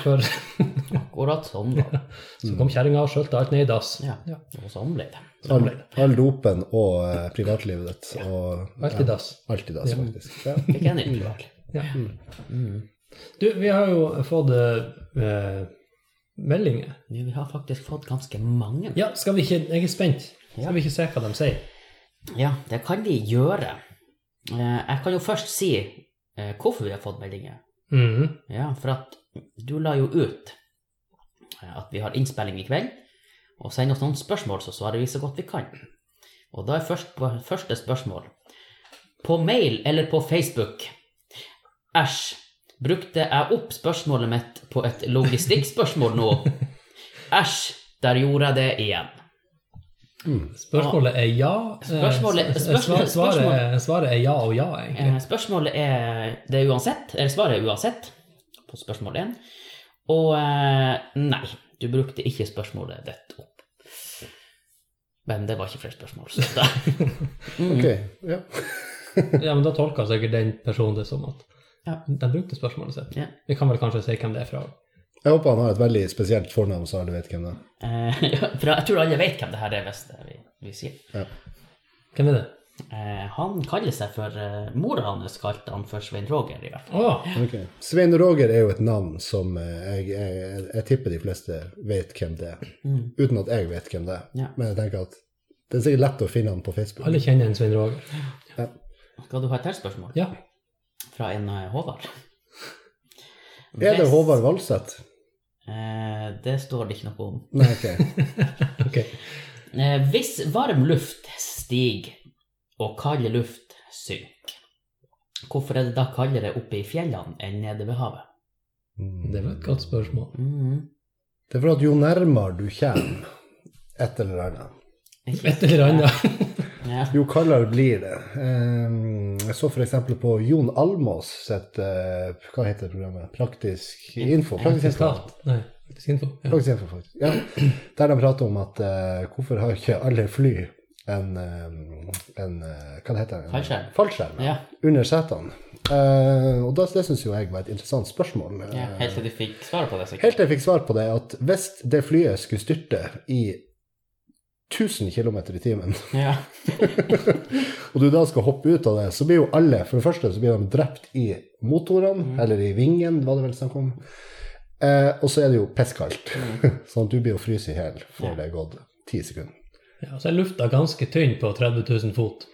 Speaker 2: For (laughs)
Speaker 1: Akkurat sånn var det.
Speaker 2: så kom kjerringa og skjølte alt ned i dass.
Speaker 1: Ja. Og sånn ble det.
Speaker 3: All, all dopen og eh, privatlivet ditt. Og
Speaker 2: Alt i dass.
Speaker 3: alt i dass, faktisk. Ja.
Speaker 1: Fikk jeg en ny privat.
Speaker 2: Ja.
Speaker 1: Mm.
Speaker 2: Du, vi har jo fått eh, meldinger.
Speaker 1: Men Vi har faktisk fått ganske mange.
Speaker 2: Ja, skal vi ikke Jeg er spent. Skal vi ikke se hva de sier?
Speaker 1: Ja, det kan vi gjøre. Eh, Jeg kan jo først si eh, hvorfor vi har fått meldinger.
Speaker 2: Mhm.
Speaker 1: Ja, for at du la jo ut eh, at vi har innspilling i kveld, og send oss noen spørsmål, så svarer vi så godt vi kan. Og da er først, første spørsmål. På mail eller på Facebook? Æsj, brukte jeg opp spørsmålet mitt på et logistikkspørsmål nå? Æsj, der gjorde jeg det igjen.
Speaker 2: Spørsmålet er ja. eh,
Speaker 1: Spørsmålet-
Speaker 2: s-
Speaker 1: spørsmål-
Speaker 2: svar- Svaret, svaret er ja og ja, egentlig.
Speaker 1: Eh, Spørsmålet er det er uansett, eller svaret er uansett på spørsmål 1. Og eh, nei, du brukte ikke spørsmålet ditt opp. Men det var ikke flere spørsmål. Så da. (laughs)
Speaker 3: Ok, ja.
Speaker 2: Ja, men da tolka sikkert den personen det som at
Speaker 1: Ja.
Speaker 2: de brukte spørsmålet sitt.
Speaker 1: Ja.
Speaker 2: Vi kan vel kanskje si hvem det er fra?
Speaker 3: Jeg håper han har et veldig spesielt fornavn, så alle vet hvem det er.
Speaker 1: Eh, ja, for jeg tror alle vet hvem det her er, hvis det vi, vi sier.
Speaker 2: Hvem er det?
Speaker 1: Eh, han kaller seg for eh, Mora hans kalte han for Svein Roger, i hvert fall.
Speaker 2: Å!
Speaker 3: Ok. Svein Roger er jo et navn som eh, jeg, jeg, jeg tipper de fleste vet hvem det er.
Speaker 1: Mm.
Speaker 3: Uten at jeg vet hvem det er.
Speaker 1: Ja.
Speaker 3: Men jeg tenker at det er sikkert lett å finne han på Facebook.
Speaker 2: alle kjenner en Svein Roger.
Speaker 1: Skal du ha et til spørsmål?
Speaker 2: Ja.
Speaker 1: Fra en eh, Håvard.
Speaker 3: Er det
Speaker 1: Hvis-
Speaker 3: Håvard Valseth?
Speaker 1: Eh, det står det ikke noe om.
Speaker 3: Nei, ok.
Speaker 2: Ok.
Speaker 1: Eh, hvis varm luft stiger og kald luft synker, hvorfor er det da kaldere oppe i fjellene enn nede ved havet?
Speaker 2: Det var et godt spørsmål.
Speaker 1: Mhm.
Speaker 3: Mm. Det er for at jo nærmere du kommer et eller annet,
Speaker 2: Et eller annet.
Speaker 1: Ja.
Speaker 3: jo kaldere blir det. Ehm, Jeg så f.eks. på Jon Almås sitt eh, Hva heter programmet? Praktisk info. Praktisk info.
Speaker 2: Sitat. Nei, faktisk info. Ja.
Speaker 3: Faktisk info, faktisk. Ja. Der de prater om at eh, hvorfor har ikke alle fly en, eh, en eh, Hva det heter det?
Speaker 1: Fallskjerm.
Speaker 3: Fallskjerm ja.
Speaker 1: ja.
Speaker 3: under setene. Eh, og da, det syns jo jeg var et interessant spørsmål.
Speaker 1: ja.
Speaker 3: Eh,
Speaker 1: Helt til du fikk svaret på det, sikkert.
Speaker 3: Helt til jeg fikk svar på det, at hvis det flyet skulle styrte i 1000 km i timen,
Speaker 1: Ja.
Speaker 3: og du da skal hoppe ut av det, så blir jo alle For det første så blir de drept i motorene,
Speaker 1: Mm.
Speaker 3: eller i vingen, var det vel snakk om. Eh, og så er det jo pisskaldt, (laughs) sånn at du blir jo fryst i hjel før
Speaker 1: Mm. Ja.
Speaker 3: det er gått ti sekunder.
Speaker 2: Ja, så er lufta ganske tynn på 30 000 fot.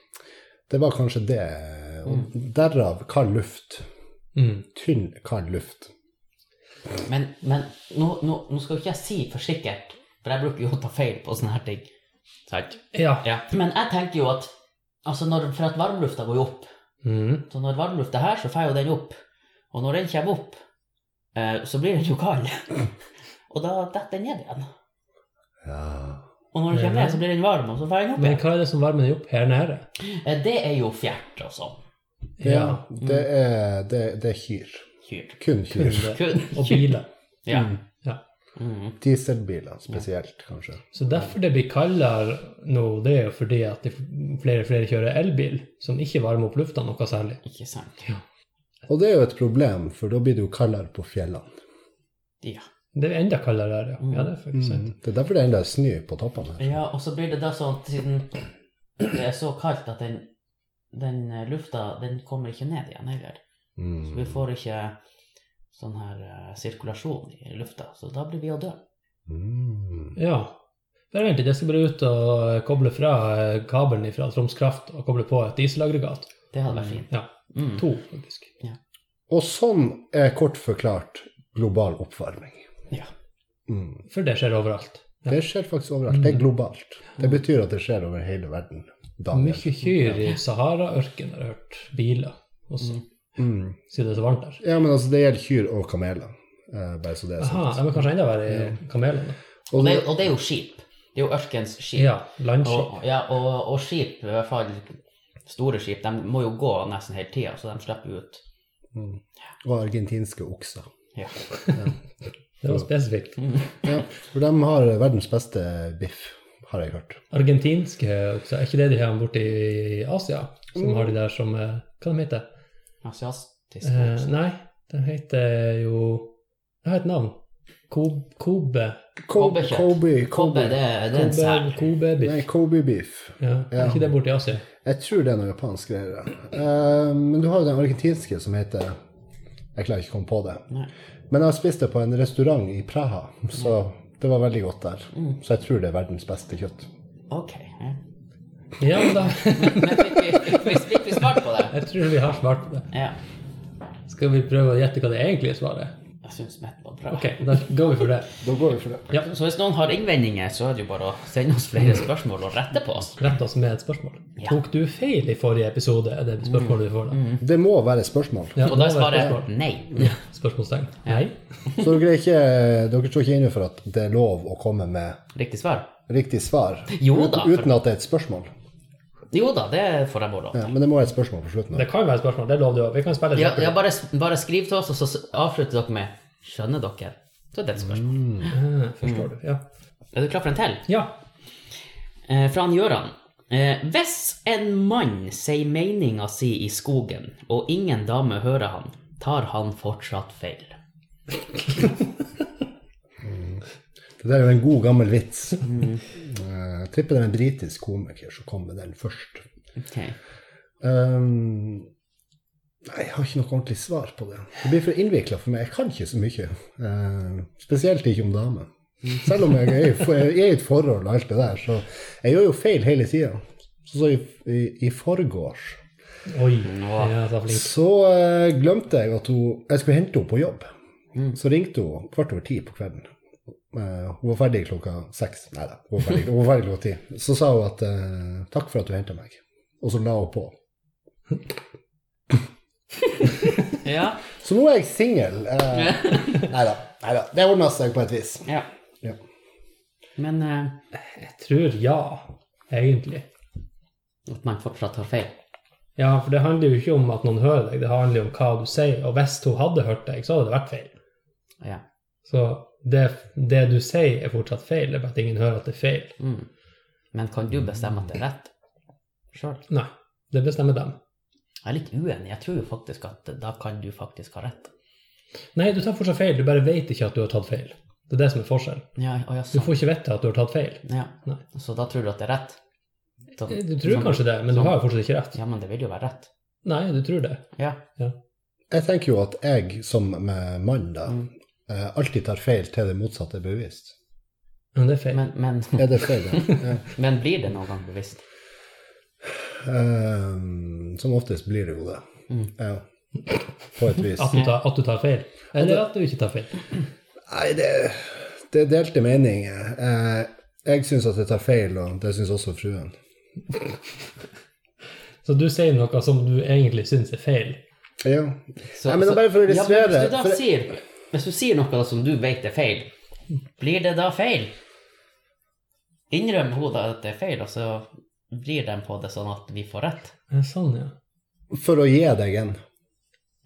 Speaker 3: Det var kanskje det. Og
Speaker 1: Mm.
Speaker 3: derav kald luft.
Speaker 2: Mm.
Speaker 3: Tynn, kald luft.
Speaker 1: Men, men nå, nå, nå skal jo ikke jeg si for sikkert, for jeg bruker jo å ta feil på sånne her ting. Sant?
Speaker 2: Ja.
Speaker 1: Ja. Men jeg tenker jo at altså når, For at varmlufta går jo opp.
Speaker 2: Mm.
Speaker 1: Så når varmlufta er her, så får jo den opp. Og når den kommer opp, eh, så blir den jo kald. (laughs) Og da detter den ned igjen.
Speaker 3: Ja.
Speaker 1: Og når den kommer ned, så blir den varm, og så får den opp
Speaker 2: Men
Speaker 1: igjen.
Speaker 2: hva er det som varmer den opp her nede?
Speaker 1: Eh, Det er jo fjert og sånn.
Speaker 3: ja det, er, det, det er kyr.
Speaker 1: Kyr.
Speaker 2: Kun
Speaker 3: Kun kyr.
Speaker 2: det.
Speaker 1: Mm. Kun.
Speaker 2: Og biler.
Speaker 1: (laughs) Ja.
Speaker 2: Ja.
Speaker 1: Mm.
Speaker 3: Dieselbiler spesielt, kanskje.
Speaker 2: Så derfor det blir kaldere nå, det er jo fordi at det flere og flere kjører elbil, som ikke varmer opp lufta noe særlig.
Speaker 1: Ikke sant.
Speaker 3: Og det er jo et problem, for da blir det jo kaldere på fjellene.
Speaker 1: Ja.
Speaker 2: Det er enda kaldere der, ja. ja det er faktisk sant.
Speaker 3: Det er derfor det enda er snø på toppene her.
Speaker 1: Mm. ja, og så blir det da sånn at siden det er så kaldt at den, den eh, lufta, den kommer ikke ned igjen heller.
Speaker 3: Mm.
Speaker 1: Så vi får ikke sånn her eh, sirkulasjon i lufta, så da blir vi å dø.
Speaker 3: Mm.
Speaker 2: Ja. Bare vent litt, jeg skal bare ut og koble fra eh, kabelen fra Troms Kraft og koble på et dieselaggregat.
Speaker 1: Det hadde vært fint.
Speaker 2: Ja,
Speaker 1: Mm.
Speaker 2: to faktisk.
Speaker 3: Og sånn er kort forklart global oppvarming.
Speaker 1: Ja.
Speaker 3: Mm.
Speaker 2: For det skjer overalt. Ja. Mm.
Speaker 3: Det skjer faktisk overalt. Det er globalt. Det betyr at det skjer over hele verden. Daniel.
Speaker 2: Mye kyr i Sahara-ørken har jeg hørt. Biler også,
Speaker 3: Mm.
Speaker 2: siden det er så varmt der.
Speaker 3: Ja, men altså, det gjelder kyr og kameler. Eh, bare så det er
Speaker 2: Aha,
Speaker 3: sagt.
Speaker 2: de er kanskje enda verre i kamelene.
Speaker 1: Og
Speaker 3: Og
Speaker 1: det,
Speaker 3: det,
Speaker 1: er jo- og det er jo skip. Det er jo ørkens skip.
Speaker 2: Ja, landskip.
Speaker 1: Og, ja, og, og skip, i hvert fall store skip, de må jo gå nesten hele tida, så de slipper jo ut.
Speaker 3: mm. Og argentinske okser.
Speaker 1: Ja.
Speaker 2: Det var spesifikt.
Speaker 3: Ja, for de har verdens beste biff, har jeg hørt.
Speaker 2: Argentinske okser, er ikke det de har borte i Asia? Som har de der som eh, Hva de heter de?
Speaker 1: Asiatisk.
Speaker 2: Eh, nei, de heter jo De har et navn. Kob- Kobe.
Speaker 3: Kobe,
Speaker 1: Kobekjøtt. Kobbe,
Speaker 3: Kobe, Kobe.
Speaker 1: det, er- det er en
Speaker 2: Kobe,
Speaker 1: sel.
Speaker 3: Nei,
Speaker 2: Kobe-biff.
Speaker 3: Kobe beef.
Speaker 2: Ja, er ikke det borte i Asia?
Speaker 3: Jeg tror det er noe japansk greier. Eh, men du har jo den argentinske som heter Jeg klarer ikke å komme på det.
Speaker 1: Nei.
Speaker 3: Men jeg har spist det på en restaurant i Praha, så det var veldig godt der. Så jeg tror det er verdens beste kjøtt.
Speaker 1: Ok. ja.
Speaker 2: Ja, men da (laughs)
Speaker 1: Men fikk vi, fikk vi- fikk vi svart på det?
Speaker 2: Jeg tror vi har svart på det.
Speaker 1: Ja.
Speaker 2: Skal vi prøve å gjette hva det egentlige svaret er?
Speaker 1: Jeg syns Mett var bra.
Speaker 2: Ok, da går vi for det.
Speaker 3: Da går vi for det.
Speaker 1: Så hvis noen har innvendinger, så er det jo bare å sende oss flere
Speaker 2: Mm.
Speaker 1: spørsmål og rette på oss.
Speaker 2: Rett oss med et spørsmål.
Speaker 1: Ja. Mm.
Speaker 2: Tok du feil i forrige episode? Er det spørsmålet vi får da?
Speaker 3: Det må være spørsmål.
Speaker 2: Ja,
Speaker 1: Og da er
Speaker 2: var det
Speaker 1: svaret
Speaker 2: spørsmål.
Speaker 1: nei.
Speaker 2: Spørsmålstegn. Nei.
Speaker 3: Så dere, er ikke, dere står ikke inne for at det er lov å komme med
Speaker 1: Riktig svar?
Speaker 3: riktig svar.
Speaker 1: Jo da,
Speaker 3: Uten- Uten at det er et spørsmål.
Speaker 1: Jo da, det får jeg bare lov
Speaker 3: Ja,
Speaker 1: til.
Speaker 3: men det må være et spørsmål på slutten.
Speaker 2: Det kan være et spørsmål, det lover du òg. Vi kan spille et
Speaker 1: Ja,
Speaker 2: spørsmål.
Speaker 1: ja bare, bare skriv til oss, og så s- avslutter dere med 'Skjønner dere?' Så er det et spørsmål.
Speaker 2: Ah,
Speaker 1: Mm.
Speaker 2: Forstår du. Ja.
Speaker 1: Er du klar for en til?
Speaker 2: ja.
Speaker 1: Eh, fra han Gjøran. Eh, hvis en mann sier meninga si i skogen, og ingen dame hører han, tar han fortsatt feil.
Speaker 3: Det der er jo en god, gammel vits. Eh, Jeg tipper det er en britisk komiker som kom med den først.
Speaker 1: Ok.
Speaker 3: Ehm, nei, jeg har ikke noe ordentlig svar på det. Det blir for innvikla for meg. Jeg kan ikke så mye. Eh, spesielt ikke om damer. Selv om jeg er i for- jeg er i et forhold og alt det der, så jeg gjør jo feil hele tida. Så, så i, i, i forgårs
Speaker 2: Oi. Ja, så flink.
Speaker 3: så eh, glemte jeg at hun Jeg skulle hente henne på jobb. Så ringte hun kvart over ti på kvelden. Eh, hun var ferdig klokka seks. Nei da, hun var ferdig, hun var ferdig klokka ti. Så sa hun at eh, 'takk for at du henta meg', og så la hun på.
Speaker 1: Ja.
Speaker 3: Så nå er jeg singel.
Speaker 1: (laughs)
Speaker 3: Eh, nei da. Nei da. Det ordna seg på et vis.
Speaker 1: ja.
Speaker 3: Ja.
Speaker 1: Men eh,
Speaker 2: Jeg tror ja, egentlig.
Speaker 1: at man fortsatt tar feil.
Speaker 2: Ja, for det handler jo ikke om at noen hører deg, det handler jo om hva du sier. Og hvis hun hadde hørt deg, så hadde det vært feil.
Speaker 1: Ja.
Speaker 2: Så det, det du sier, er fortsatt feil. Det er bare at ingen hører at det er feil.
Speaker 1: Mm. Men kan du bestemme at det er rett sjøl?
Speaker 2: Nei, det bestemmer dem.
Speaker 1: Jeg er litt uenig. Jeg tror jo faktisk at da kan du faktisk ha rett.
Speaker 2: Nei, du tar fortsatt feil, du bare vet ikke at du har tatt feil. Det er det som er forskjellen.
Speaker 1: Ja, å, ja,
Speaker 2: Du
Speaker 1: sånn.
Speaker 2: får ikke vite at du har tatt feil.
Speaker 1: ja.
Speaker 2: Nei.
Speaker 1: Så da tror du at det er rett? Så-
Speaker 2: Du tror
Speaker 1: sånn-
Speaker 2: kanskje det, men du
Speaker 1: sånn-
Speaker 2: har jo fortsatt ikke rett.
Speaker 1: Ja, men det vil jo være rett.
Speaker 2: Nei, du tror det.
Speaker 1: Ja.
Speaker 3: Jeg tenker jo at jeg som eh, mann da
Speaker 1: Mm.
Speaker 3: eh, alltid tar feil til det motsatte er bevisst.
Speaker 2: Men det er feil.
Speaker 1: Men, men, (laughs)
Speaker 3: Er det feil? da? Ja.
Speaker 1: men blir det noen gang bevisst?
Speaker 3: Eh, som oftest blir det jo det.
Speaker 1: Mm.
Speaker 3: Ja. På et vis.
Speaker 2: At du, tar, at du tar feil. Eller at du ikke tar feil.
Speaker 3: Nei, det, det er delte meninger. Eh, jeg syns at jeg tar feil, og det syns også fruen.
Speaker 2: Så du sier noe som du egentlig syns er feil.
Speaker 3: Ja.
Speaker 1: Så-
Speaker 3: Nei, men det er
Speaker 1: så-
Speaker 3: bare for å illustrere,
Speaker 1: Ja, men hvis, du da
Speaker 3: for-
Speaker 1: sier, hvis du sier noe som du vet er feil, blir det da feil? Innrøm hun da at det er feil, og så vrir de på det sånn at vi får rett?
Speaker 2: Ja, Sånn, ja.
Speaker 3: For å gi deg en.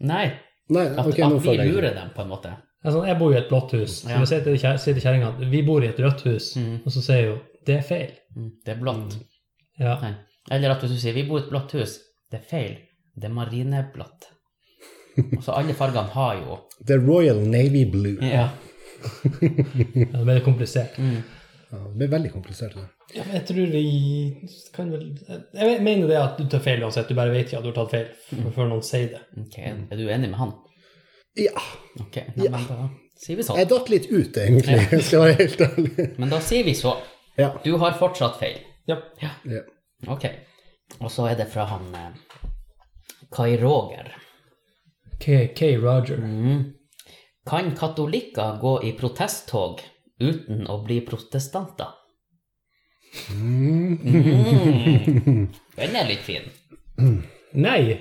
Speaker 1: Nei,
Speaker 3: Nei,
Speaker 1: at,
Speaker 3: ok, nå
Speaker 1: at vi
Speaker 3: får jeg
Speaker 1: lurer dem på en måte.
Speaker 2: Altså, jeg bor i et blått hus.
Speaker 1: Ja.
Speaker 2: Så jeg sier til kjæ- sier til kjerringa at vi bor i et rødt hus,
Speaker 1: Mm.
Speaker 2: og så sier hun det er feil.
Speaker 1: Mm, Det er blått.
Speaker 2: Ja.
Speaker 1: Nei. Eller at hvis du sier 'vi bor i et blått hus', det er feil. Det er marineblått. Og så alle fargene har
Speaker 3: (laughs)
Speaker 1: jo
Speaker 3: The Royal Navy Blue.
Speaker 1: Ja.
Speaker 2: Ja, det ble komplisert.
Speaker 1: Mm.
Speaker 3: Ja, det blir veldig komplisert. det.
Speaker 2: Ja, men jeg tror vi kan vel Jeg mener det at du tar feil uansett, du bare vet ikke at du har tatt feil f- før noen sier det.
Speaker 1: Ok, Er du enig med han?
Speaker 3: Ja.
Speaker 1: Ok, nei, men da sier vi sånn.
Speaker 3: Jeg datt litt ut, (laughs) egentlig. Skal jeg være helt ærlig.
Speaker 1: Men da sier vi så.
Speaker 3: Ja.
Speaker 1: Du har fortsatt feil.
Speaker 2: Ja.
Speaker 3: ja.
Speaker 1: Ok. Og så er det fra han eh, Kai Roger.
Speaker 2: K. K. Roger.
Speaker 1: Mm. Kan katolikker gå i protesttog uten å bli protestanter? Mm. Den er litt fin.
Speaker 2: Nei!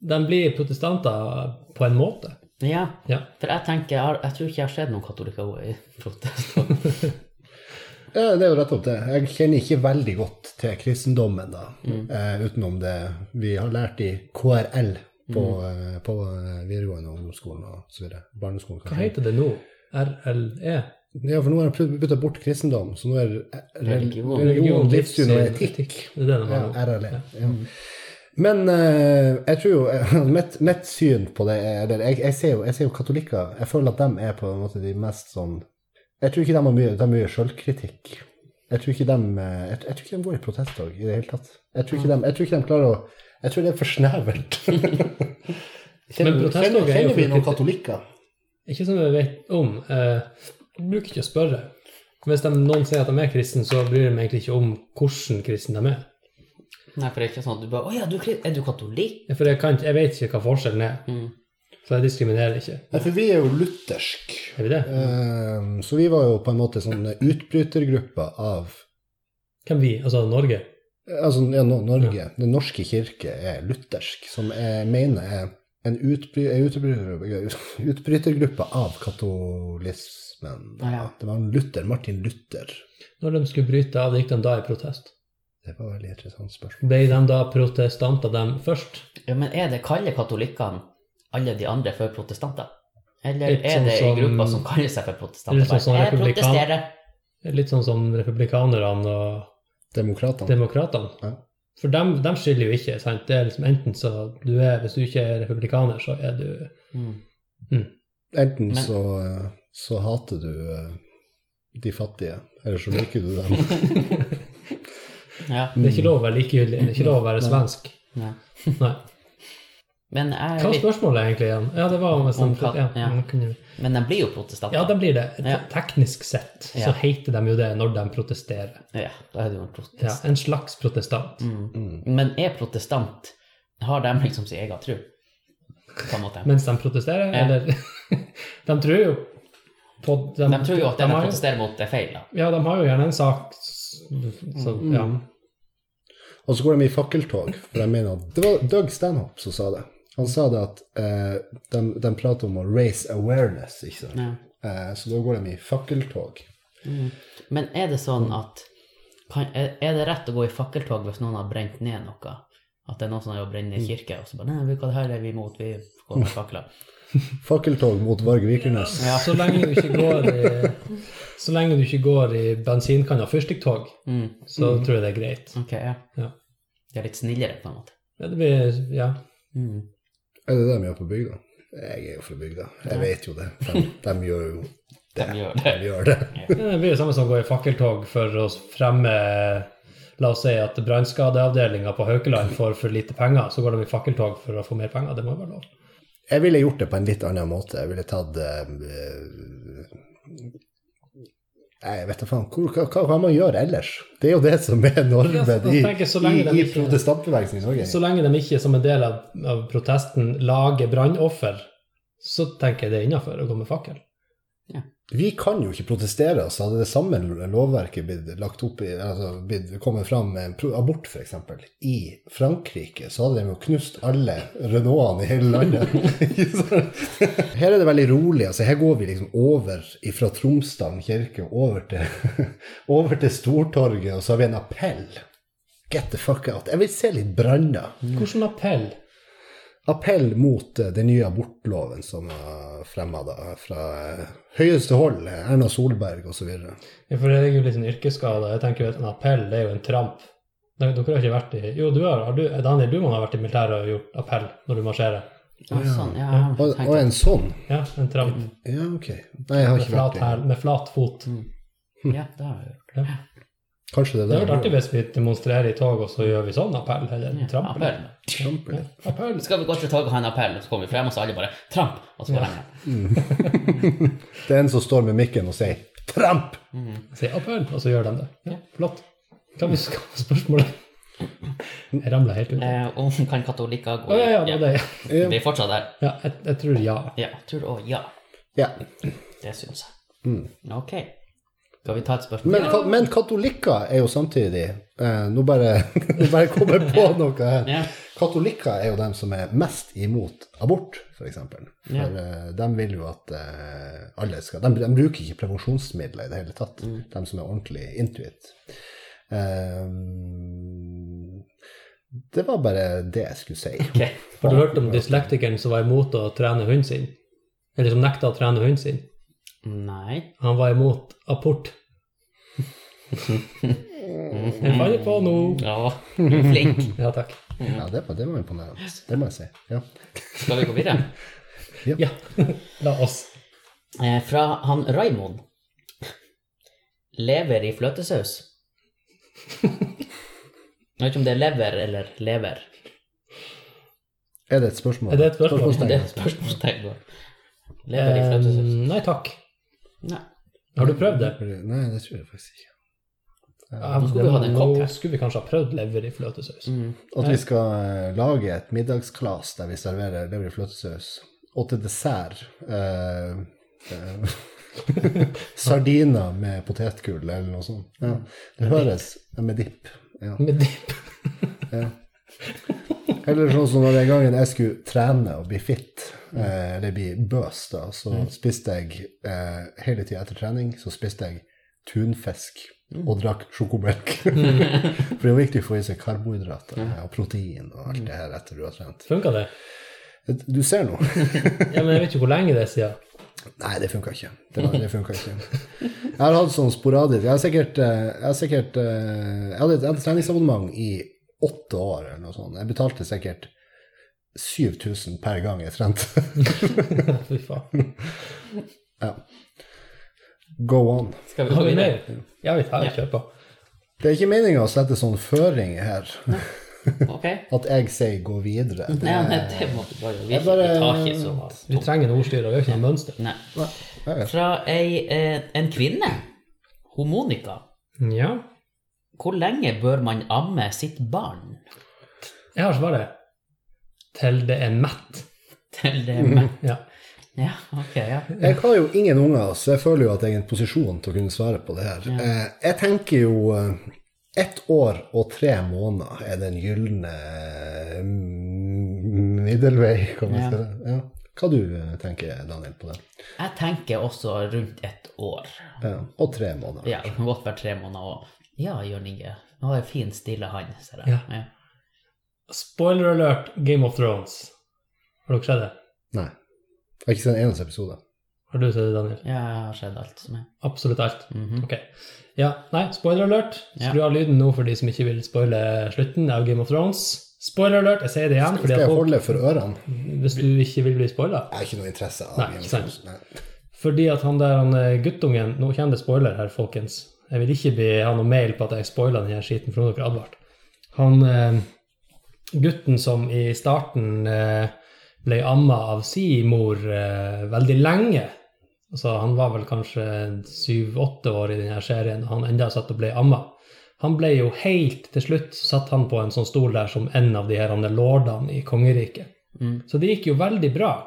Speaker 2: De blir protestanter på en måte.
Speaker 1: Ja,
Speaker 2: Ja.
Speaker 1: for jeg tenker, jeg, har- jeg tror ikke jeg har sett noen katolikker gå i
Speaker 2: (laughs)
Speaker 1: protesttog.
Speaker 3: ja, det er jo rett opp det. Jeg kjenner ikke veldig godt til kristendommen, da. Eh, utenom det vi har lært i KRL på, eh, på eh, videregående ungdomsskolen og så videre. Barneskolen,
Speaker 2: Hva heter det nå? E? RLE?
Speaker 3: Ja, for nå har jeg prøvd å bytte bort kristendom, så nå er re-
Speaker 1: Religion.
Speaker 3: religion, livssyn og etikk.
Speaker 2: Det er det de
Speaker 3: Ja,
Speaker 2: har nå.
Speaker 3: RLE. Ja. Men eh, jeg tror jo mitt, mitt syn på det er eller jeg, jeg, ser jo, jeg ser jo katolikker Jeg føler at de er på en måte de mest sånn Jeg tror ikke de har mye, de har mye sjølkritikk. Jeg tror ikke de eh, jeg, jeg tror ikke de går i protesttog i det hele tatt. Jeg tror ikke de, jeg tror ikke de klarer å Jeg tror det er for snevert.
Speaker 2: (laughs) Men
Speaker 3: kjenner,
Speaker 2: protesttog er jo
Speaker 3: kjenner, kjenner vi
Speaker 2: for-
Speaker 3: noen katolikker?
Speaker 2: Ikke som jeg vet om. Eh, jeg bruker ikke å spørre. Hvis de, noen sier at de er kristne, så bryr de meg egentlig ikke om hvordan kristne de er.
Speaker 1: Nei, for det er ikke sånn at du bare Å ja, du, er kri- er du katolikk?
Speaker 2: Ja, For jeg, kan, ikke- jeg vet ikke hva forskjellen er,
Speaker 1: Mm.
Speaker 2: så jeg diskriminerer ikke.
Speaker 3: Nei, for vi er jo luthersk.
Speaker 2: Er vi det?
Speaker 3: Ehm, Så vi var jo på en måte sånn utbrytergruppe av
Speaker 2: Hvem vi? Altså Norge?
Speaker 3: Altså, ja, Nor- Norge. Den norske kirke er luthersk, som jeg mener er en utbry, en utbry, utbrytergruppe av katolismen.
Speaker 1: Ja, ja.
Speaker 3: Det var en Luther, Martin Luther.
Speaker 2: Når de skulle bryte av, gikk de da i protest?
Speaker 3: Det var veldig interessant spørsmål.
Speaker 2: Ble de da protestanter, dem først?
Speaker 1: Ja, men er det kaller katolikkene alle de andre for protestanter? Eller
Speaker 2: Litt
Speaker 1: er
Speaker 2: sånn
Speaker 1: det ei
Speaker 2: som-
Speaker 1: gruppe som kaller seg for protestanter?
Speaker 2: Litt sånn som
Speaker 1: Bare, jeg
Speaker 2: republikan-
Speaker 1: protesterer.
Speaker 2: Litt sånn som republikanerne og
Speaker 3: Demokratene.
Speaker 2: demokratene.
Speaker 3: Ja.
Speaker 2: For dem, dem skiller jo ikke, sant. Det er liksom enten så du er, Hvis du ikke er republikaner, så er du
Speaker 1: Mm.
Speaker 3: Enten
Speaker 1: Men-
Speaker 3: så, eh, så hater du eh, de fattige, eller så liker du
Speaker 1: (laughs)
Speaker 3: dem.
Speaker 1: Ja.
Speaker 2: Det er ikke lov å være likegyldig. Det er ikke lov å være svensk.
Speaker 1: ja.
Speaker 2: Nei.
Speaker 1: Men, jeg
Speaker 2: Hva
Speaker 1: er
Speaker 2: var
Speaker 1: litt,
Speaker 2: spørsmålet egentlig igjen? Ja, det var om hvis
Speaker 1: Om
Speaker 2: de,
Speaker 1: katt,
Speaker 2: ja,
Speaker 1: ja.
Speaker 2: men kunne vi-
Speaker 1: men de blir jo protestanter.
Speaker 2: ja, da blir det. Te-
Speaker 1: Ja.
Speaker 2: Teknisk sett så
Speaker 1: Ja.
Speaker 2: heter de jo det når de protesterer.
Speaker 1: Ja, da er det jo en protest.
Speaker 2: Ja, en slags protestant.
Speaker 1: Mm.
Speaker 3: Mm.
Speaker 1: Men er protestant Har de liksom sin egen tro? På en måte.
Speaker 2: Mens de protesterer,
Speaker 1: Ja.
Speaker 2: eller (laughs) De tror jo på
Speaker 1: De tror jo at det de
Speaker 2: har jo-
Speaker 1: protesterer mot, er feil. da.
Speaker 2: Ja, de har jo gjerne en sak s- så,
Speaker 1: Mm.
Speaker 2: ja.
Speaker 3: Og så går de i fakkeltog, for jeg mener at Det var Doug Stanhope som sa det. Han sa det at eh, de, de prater om å raise awareness, ikke sant.
Speaker 1: Ja.
Speaker 3: Eh, så da går de i fakkeltog.
Speaker 1: Men er det sånn at kan, Er er det rett å gå i fakkeltog hvis noen har brent ned noe? At det er noen som har brent
Speaker 2: Mm.
Speaker 1: ned kirke, og så bare Nei, hva det her er vi imot, vi går med fakler.
Speaker 3: Fakkeltog mot Varg Vikernes.
Speaker 2: Så lenge du ikke går
Speaker 1: (laughs)
Speaker 2: i Så lenge du ikke går i bensinkanna fyrstikktog,
Speaker 1: Mm.
Speaker 2: så tror jeg det er greit.
Speaker 1: Ok, ja.
Speaker 2: Ja.
Speaker 1: De er litt snillere, på en måte.
Speaker 2: Ja, det blir Ja.
Speaker 1: Mm.
Speaker 3: Er det det de gjør på bygda? Jeg er jo fra bygda, jeg vet jo det. De, de gjør jo
Speaker 1: De gjør det.
Speaker 3: de gjør det.
Speaker 2: Ja, Det blir det samme som å gå i fakkeltog for å fremme La oss si at brannskadeavdelinga på Haukeland får for lite penger, så går de i fakkeltog for å få mer penger. Det må være lov.
Speaker 3: Jeg ville gjort det på en litt annen måte. Jeg ville tatt eh, Nei, jeg vet da faen. Hvor, hva, hva kan man gjøre ellers? Det er jo det som er
Speaker 2: Ja, så
Speaker 3: normen i,
Speaker 2: tenker jeg så lenge de
Speaker 3: i, i
Speaker 2: ikke-
Speaker 3: protestantbevegelsen i Norge.
Speaker 2: Så lenge de ikke som en del av, av protesten lager brannoffer, så tenker jeg det er innafor å gå med fakkel.
Speaker 3: Vi kan jo ikke protestere, så hadde det samme lovverket blitt lagt opp i, altså blitt kommet fram med en pro- abort, f.eks., i Frankrike, så hadde de jo knust alle Renaultene i hele landet. Ikke sant? her er det veldig rolig. altså Her går vi liksom over fra Tromsdalen kirke og over til, (laughs) over til Stortorget, og så har vi en appell. Get the fuck out. Jeg vil se litt branner.
Speaker 2: Hvilken appell?
Speaker 3: Appell mot eh, den nye abortloven som var fremma fra eh, høyeste hold, eh, Erna Solberg osv.
Speaker 2: Ja, For jeg er jo litt sånn yrkesskada. Jeg tenker jo at en appell det er jo en tramp. Dere dere har ikke vært i Jo, du har, har du, Daniel, du må ha vært i militæret og gjort appell når du marsjerer.
Speaker 1: Ja, sånn, ja. jeg
Speaker 3: Og,
Speaker 1: har tenkt
Speaker 3: og en sånn?
Speaker 2: Ja, en tramp
Speaker 3: Ja, ok. Nei, jeg
Speaker 2: med
Speaker 3: har Mm. ikke vært
Speaker 2: flat,
Speaker 3: det.
Speaker 2: hæl- med flat fot.
Speaker 1: at- Ja, det har jeg gjort.
Speaker 2: Ja.
Speaker 3: Kanskje det
Speaker 2: Det
Speaker 3: er
Speaker 2: hadde vært artig
Speaker 3: det.
Speaker 2: hvis vi demonstrerer i tog, og så gjør vi sånn appell, eller
Speaker 1: Ja,
Speaker 2: tramp. eller-
Speaker 1: appell.
Speaker 3: Kjempe.
Speaker 2: Appell.
Speaker 1: Skal vi gå til toget og ha en appell, og så kommer vi frem, og så alle bare tramp, og så går de hjem.
Speaker 3: Det er en som står med mikken og sier 'tramp'!
Speaker 2: Si appell, og så gjør de det. Ja, flott. Hva var hva var spørsmålet? Jeg ramla helt ut.
Speaker 1: Eh, Om kan katolikker gå
Speaker 2: Å ja, ja, det var det.
Speaker 1: Vi er fortsatt der.
Speaker 2: Ja, jeg, jeg tror ja.
Speaker 1: Ja, tror du òg ja.
Speaker 3: Ja.
Speaker 1: Det syns jeg.
Speaker 2: Mm.
Speaker 1: Ok. Skal vi ta et spørsmål?
Speaker 3: Men, ka- men katolikker er jo samtidig eh, Nå bare, (laughs) nå bare kommer jeg på noe her.
Speaker 1: Ja.
Speaker 3: Katolikker er jo dem som er mest imot abort, for eksempel. For
Speaker 1: Ja.
Speaker 3: eh, de vil jo at eh, alle skal de, de bruker ikke prevensjonsmidler i det hele tatt,
Speaker 2: Mm.
Speaker 3: de som er ordentlig intuit. Eh, det var bare det jeg skulle si.
Speaker 1: Ok.
Speaker 2: Har du hørt om dyslektikeren som var imot å trene hunden sin? Eller som nekta å trene hunden sin?
Speaker 1: Nei.
Speaker 2: Han var imot
Speaker 1: (laughs)
Speaker 2: apport. Jeg faller på nå.
Speaker 1: Ja, du er flink.
Speaker 2: Ja, takk.
Speaker 3: Ja, det var, det var imponerende. Det må jeg si. Ja.
Speaker 1: Skal vi gå videre?
Speaker 2: Ja, la oss.
Speaker 1: Eh, fra han Raimond. Lever i fløtesaus. Jeg vet ikke om det er lever eller lever.
Speaker 3: Er det et spørsmål?
Speaker 2: Er det et spørsmål?
Speaker 1: Men Det
Speaker 3: Spørsmålstegn.
Speaker 1: er et spørsmålstegn. da. Lever i fløtesaus.
Speaker 2: Eh, Nei takk.
Speaker 1: Nei.
Speaker 2: Har du prøvd det?
Speaker 3: Nei, det tror jeg faktisk ikke.
Speaker 2: Ja,
Speaker 1: Nå skulle vi hatt en kopp her. Mm.
Speaker 2: Nå skulle vi kanskje ha prøvd lever i fløtesaus.
Speaker 3: At vi skal eh, lage et middagsklass der vi serverer lever i fløtesaus, og til dessert eh, (laughs) eh, Sardiner med potetgull eller noe sånt.
Speaker 2: Mm.
Speaker 3: Ja. Det høres ja, med dipp. Ja.
Speaker 2: Med dipp.
Speaker 3: Eller sånn som den gangen jeg skulle trene og bli fit, eh, eller bli bøs, da, så spiste jeg eh, hele tida etter trening så spiste jeg tunfisk og drakk sjokomelk. For det er jo viktig å få i seg karbohydrater og protein og alt det her etter du har trent.
Speaker 2: Funka det?
Speaker 3: Du ser nå.
Speaker 2: Ja, men jeg vet jo hvor lenge det er siden.
Speaker 3: (laughs) Nei, det funka ikke. Det, var, det funket ikke. Jeg har hatt sånn sporadisk Jeg har sikkert, eh, jeg har sikkert eh, Jeg hadde et, jeg hadde et treningsabonnement i åtte år eller noe sånt. Jeg betalte sikkert 7000 per gang jeg trente. (laughs)
Speaker 2: Fy faen.
Speaker 3: Go on.
Speaker 1: Skal vi gå
Speaker 2: Har vi
Speaker 1: videre?
Speaker 2: mer? Ja, vi tar og kjøper.
Speaker 3: Det er ikke meninga å sette sånn føring her,
Speaker 1: Ok.
Speaker 3: at jeg sier 'gå videre'.
Speaker 1: Nei, nei, det må du Eh, bare Vi
Speaker 3: Jeg bare-
Speaker 1: tar ikke så
Speaker 2: Du trenger en ordstyrer, vi har ikke noe mønster.
Speaker 1: Nei.
Speaker 3: Jeg vet.
Speaker 1: Fra ei, eh, en kvinne, hun Monica.
Speaker 2: Ja,
Speaker 1: Hvor lenge bør man amme sitt barn
Speaker 2: jeg har svaret. Til det er mett.
Speaker 1: til det er med?
Speaker 2: Ja.
Speaker 1: Ja, ok, ja.
Speaker 3: Jeg har jo ingen unger, så jeg føler jo at jeg er i en posisjon til å kunne svare på det her. Eh, Jeg tenker jo eh, ett år og tre måneder er den gylne eh, m- middelvei, kan man
Speaker 1: Ja.
Speaker 3: si det. Ja. Hva du eh, tenker, Daniel, på det?
Speaker 1: Jeg tenker også rundt et år.
Speaker 3: Ja. Og tre måneder.
Speaker 1: Ja, godt være tre måneder og Ja, Jørn Inge. Nå har jeg fin, stille hand, ser jeg.
Speaker 2: Ja. Spoiler alert, Game of Thrones. Har dere sett det?
Speaker 3: Nei. Jeg har ikke sett en eneste episode.
Speaker 2: Har du sett det, Daniel?
Speaker 1: Ja, jeg har sett alt som er.
Speaker 2: Absolutt alt.
Speaker 1: Mhm.
Speaker 2: Ok. Ja, nei, spoiler alert.
Speaker 1: Ja.
Speaker 2: Skru av lyden nå for de som ikke vil spoile slutten av Game of Thrones. Spoiler alert, jeg sier det igjen, fordi
Speaker 3: Skal
Speaker 2: at
Speaker 3: jeg
Speaker 2: folk,
Speaker 3: holde for ørene?
Speaker 2: hvis du ikke vil bli spoila
Speaker 3: Jeg har ikke noe interesse av
Speaker 2: Nei,
Speaker 3: Game of
Speaker 2: ikke sant.
Speaker 3: Thrones, nei.
Speaker 2: Fordi at han der han, eh, guttungen Nå kjenner det spoiler her, folkens. Jeg vil ikke bli, ha noe mail på at jeg spoiler denne skiten, for nå har dere advart. Han eh, gutten som i starten eh, ble amma av si mor eh, veldig lenge altså Han var vel kanskje syv-åtte år i denne serien, og han enda satt og ble amma. Han ble jo helt til slutt satt han på en sånn stol der som en av de her andre lordene i kongeriket.
Speaker 1: Mm.
Speaker 2: Så det gikk jo veldig bra.